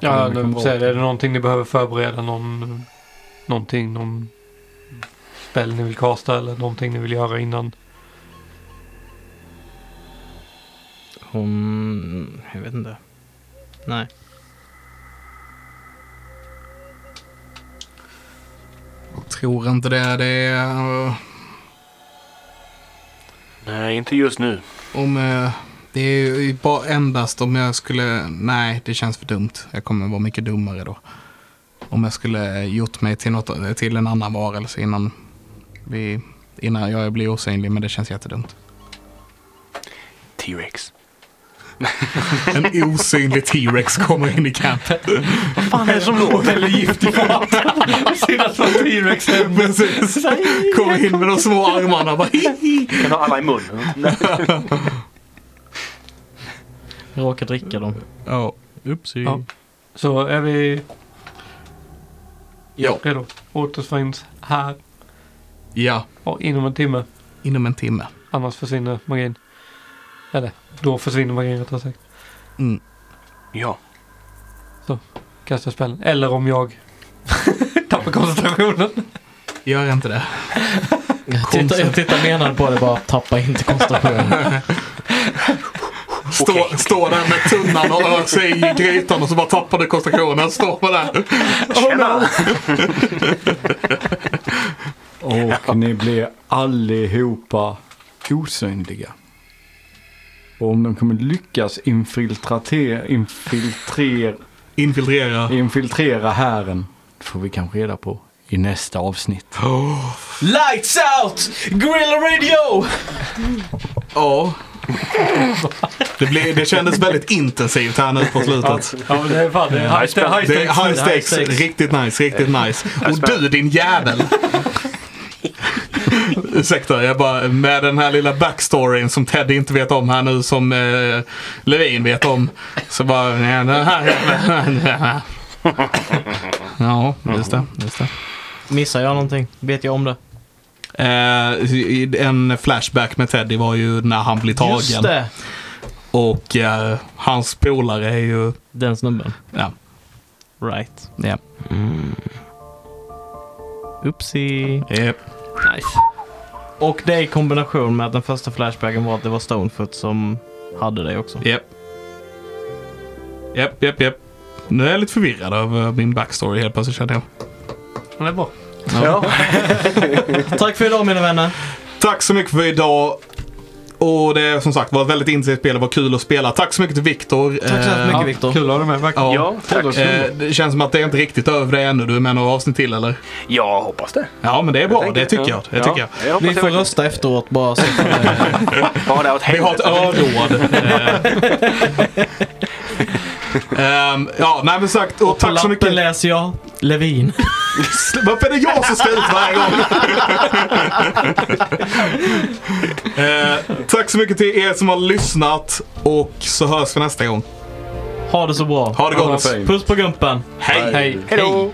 [SPEAKER 4] Ja,
[SPEAKER 3] Det
[SPEAKER 4] nu
[SPEAKER 3] kommer
[SPEAKER 4] säger
[SPEAKER 3] bra.
[SPEAKER 4] det. Är det någonting ni behöver förbereda? Någon, någonting, någon spel ni vill kasta eller någonting ni vill göra innan?
[SPEAKER 2] Hon, jag vet inte. Nej.
[SPEAKER 1] Tror inte det. Det är... eh,
[SPEAKER 5] Nej, inte just nu.
[SPEAKER 1] Om... eh, Det är ju bara endast om jag skulle... Nej, det känns för dumt. Jag kommer vara mycket dummare då. Om jag skulle gjort mig till, något, till en annan varelse innan, vi, innan jag blir osynlig. Men det känns jättedumt.
[SPEAKER 5] T-Rex.
[SPEAKER 1] En osynlig T-Rex kommer in i campet.
[SPEAKER 5] Vad fan är det som låter?
[SPEAKER 1] Eller giftig fart. Precis. Kommer in med de små armarna. och Bara, hi, hi.
[SPEAKER 5] Kan ha alla i munnen.
[SPEAKER 2] Råkar dricka dem.
[SPEAKER 1] Ja.
[SPEAKER 2] Upsi.
[SPEAKER 4] Ja. Så är vi
[SPEAKER 1] Ja.
[SPEAKER 4] redo? Återfinns här
[SPEAKER 1] ja.
[SPEAKER 4] och inom en timme.
[SPEAKER 1] Inom en timme.
[SPEAKER 4] Annars försvinner magin. Eller, då försvinner magin rättare sagt.
[SPEAKER 1] Mm.
[SPEAKER 5] Ja.
[SPEAKER 4] Kastar spelen. Eller om jag tappar koncentrationen.
[SPEAKER 1] Gör inte det.
[SPEAKER 2] Jag tittar, jag tittar menad på det bara, tappa inte koncentrationen.
[SPEAKER 1] Stå, stå där med tunnan och öser i grytan och så bara tappar du koncentrationen. Står man där.
[SPEAKER 5] Tjena!
[SPEAKER 3] Och ni blir allihopa osynliga. Och om de kommer lyckas infiltrate- infiltrer,
[SPEAKER 1] Infiltrera.
[SPEAKER 3] infiltrera hären. Det får vi kanske reda på i nästa avsnitt.
[SPEAKER 2] Lights out! Gorilla radio!
[SPEAKER 1] Ja. Det, blev, det kändes väldigt intensivt här nu på slutet.
[SPEAKER 4] Ja, men det är fan det. Är high, det är high
[SPEAKER 1] Det är
[SPEAKER 4] stakes.
[SPEAKER 1] high stakes.
[SPEAKER 2] High stakes.
[SPEAKER 1] Riktigt nice, riktigt nice. Och du din jävel. Ursäkta, jag bara med den här lilla backstoryn som Ted inte vet om här nu som eh, Levin vet om. Så bara, nej, den här jäveln. Ja, just det. Just det.
[SPEAKER 2] Missar jag någonting? Vet jag om det?
[SPEAKER 1] Eh, i- i- en flashback med Teddy var ju när han blir tagen.
[SPEAKER 2] Just det!
[SPEAKER 1] Och eh, hans polare är ju...
[SPEAKER 2] Den snubben.
[SPEAKER 1] Ja,
[SPEAKER 2] Right.
[SPEAKER 1] ja.
[SPEAKER 2] Upsi.
[SPEAKER 1] Yep.
[SPEAKER 2] Nice. Och det i kombination med att den första flashbacken var att det var Stonefoot som hade det också.
[SPEAKER 1] Japp. Japp, japp, japp. Nu är jag lite förvirrad över min backstory helt plötsligt känner jag.
[SPEAKER 4] Men Det är bra.
[SPEAKER 5] Ja.
[SPEAKER 2] Tack för idag mina vänner.
[SPEAKER 1] Tack så mycket för idag. Och det som sagt var ett väldigt intensivt spel. Det var kul att spela. Tack så mycket till Viktor. Eh,
[SPEAKER 2] Tack så hemskt mycket Viktor.
[SPEAKER 4] Kul att ha dig med. verkligen.
[SPEAKER 1] Ja.
[SPEAKER 5] Ja, tack.
[SPEAKER 1] Eh, det känns som att det är inte riktigt över det ännu. Du är med några avsnitt till eller?
[SPEAKER 5] Jag hoppas det.
[SPEAKER 1] Ja, men det är bra.
[SPEAKER 5] tänker-
[SPEAKER 1] Det tycker jag. Det tycker jag.
[SPEAKER 5] jag
[SPEAKER 2] Ni
[SPEAKER 5] hoppas
[SPEAKER 2] får
[SPEAKER 5] jag-
[SPEAKER 2] rösta efteråt bara. Så får det-
[SPEAKER 5] Ja, det har varit
[SPEAKER 1] Vi har
[SPEAKER 5] helvete.
[SPEAKER 1] ett öråd. Eh, ehm, ja, nej men sagt. Och
[SPEAKER 2] På
[SPEAKER 1] tack så
[SPEAKER 2] lappen
[SPEAKER 1] mycket.
[SPEAKER 2] läser jag Levin.
[SPEAKER 1] Varför är det jag som ska ut varje gång? eh, tack så mycket till er som har lyssnat och så hörs vi nästa gång.
[SPEAKER 2] Ha det så bra.
[SPEAKER 1] Ha det gott!
[SPEAKER 3] Hej.
[SPEAKER 2] Puss på gumpen.
[SPEAKER 1] Hej!
[SPEAKER 4] Hej.
[SPEAKER 5] Hej då!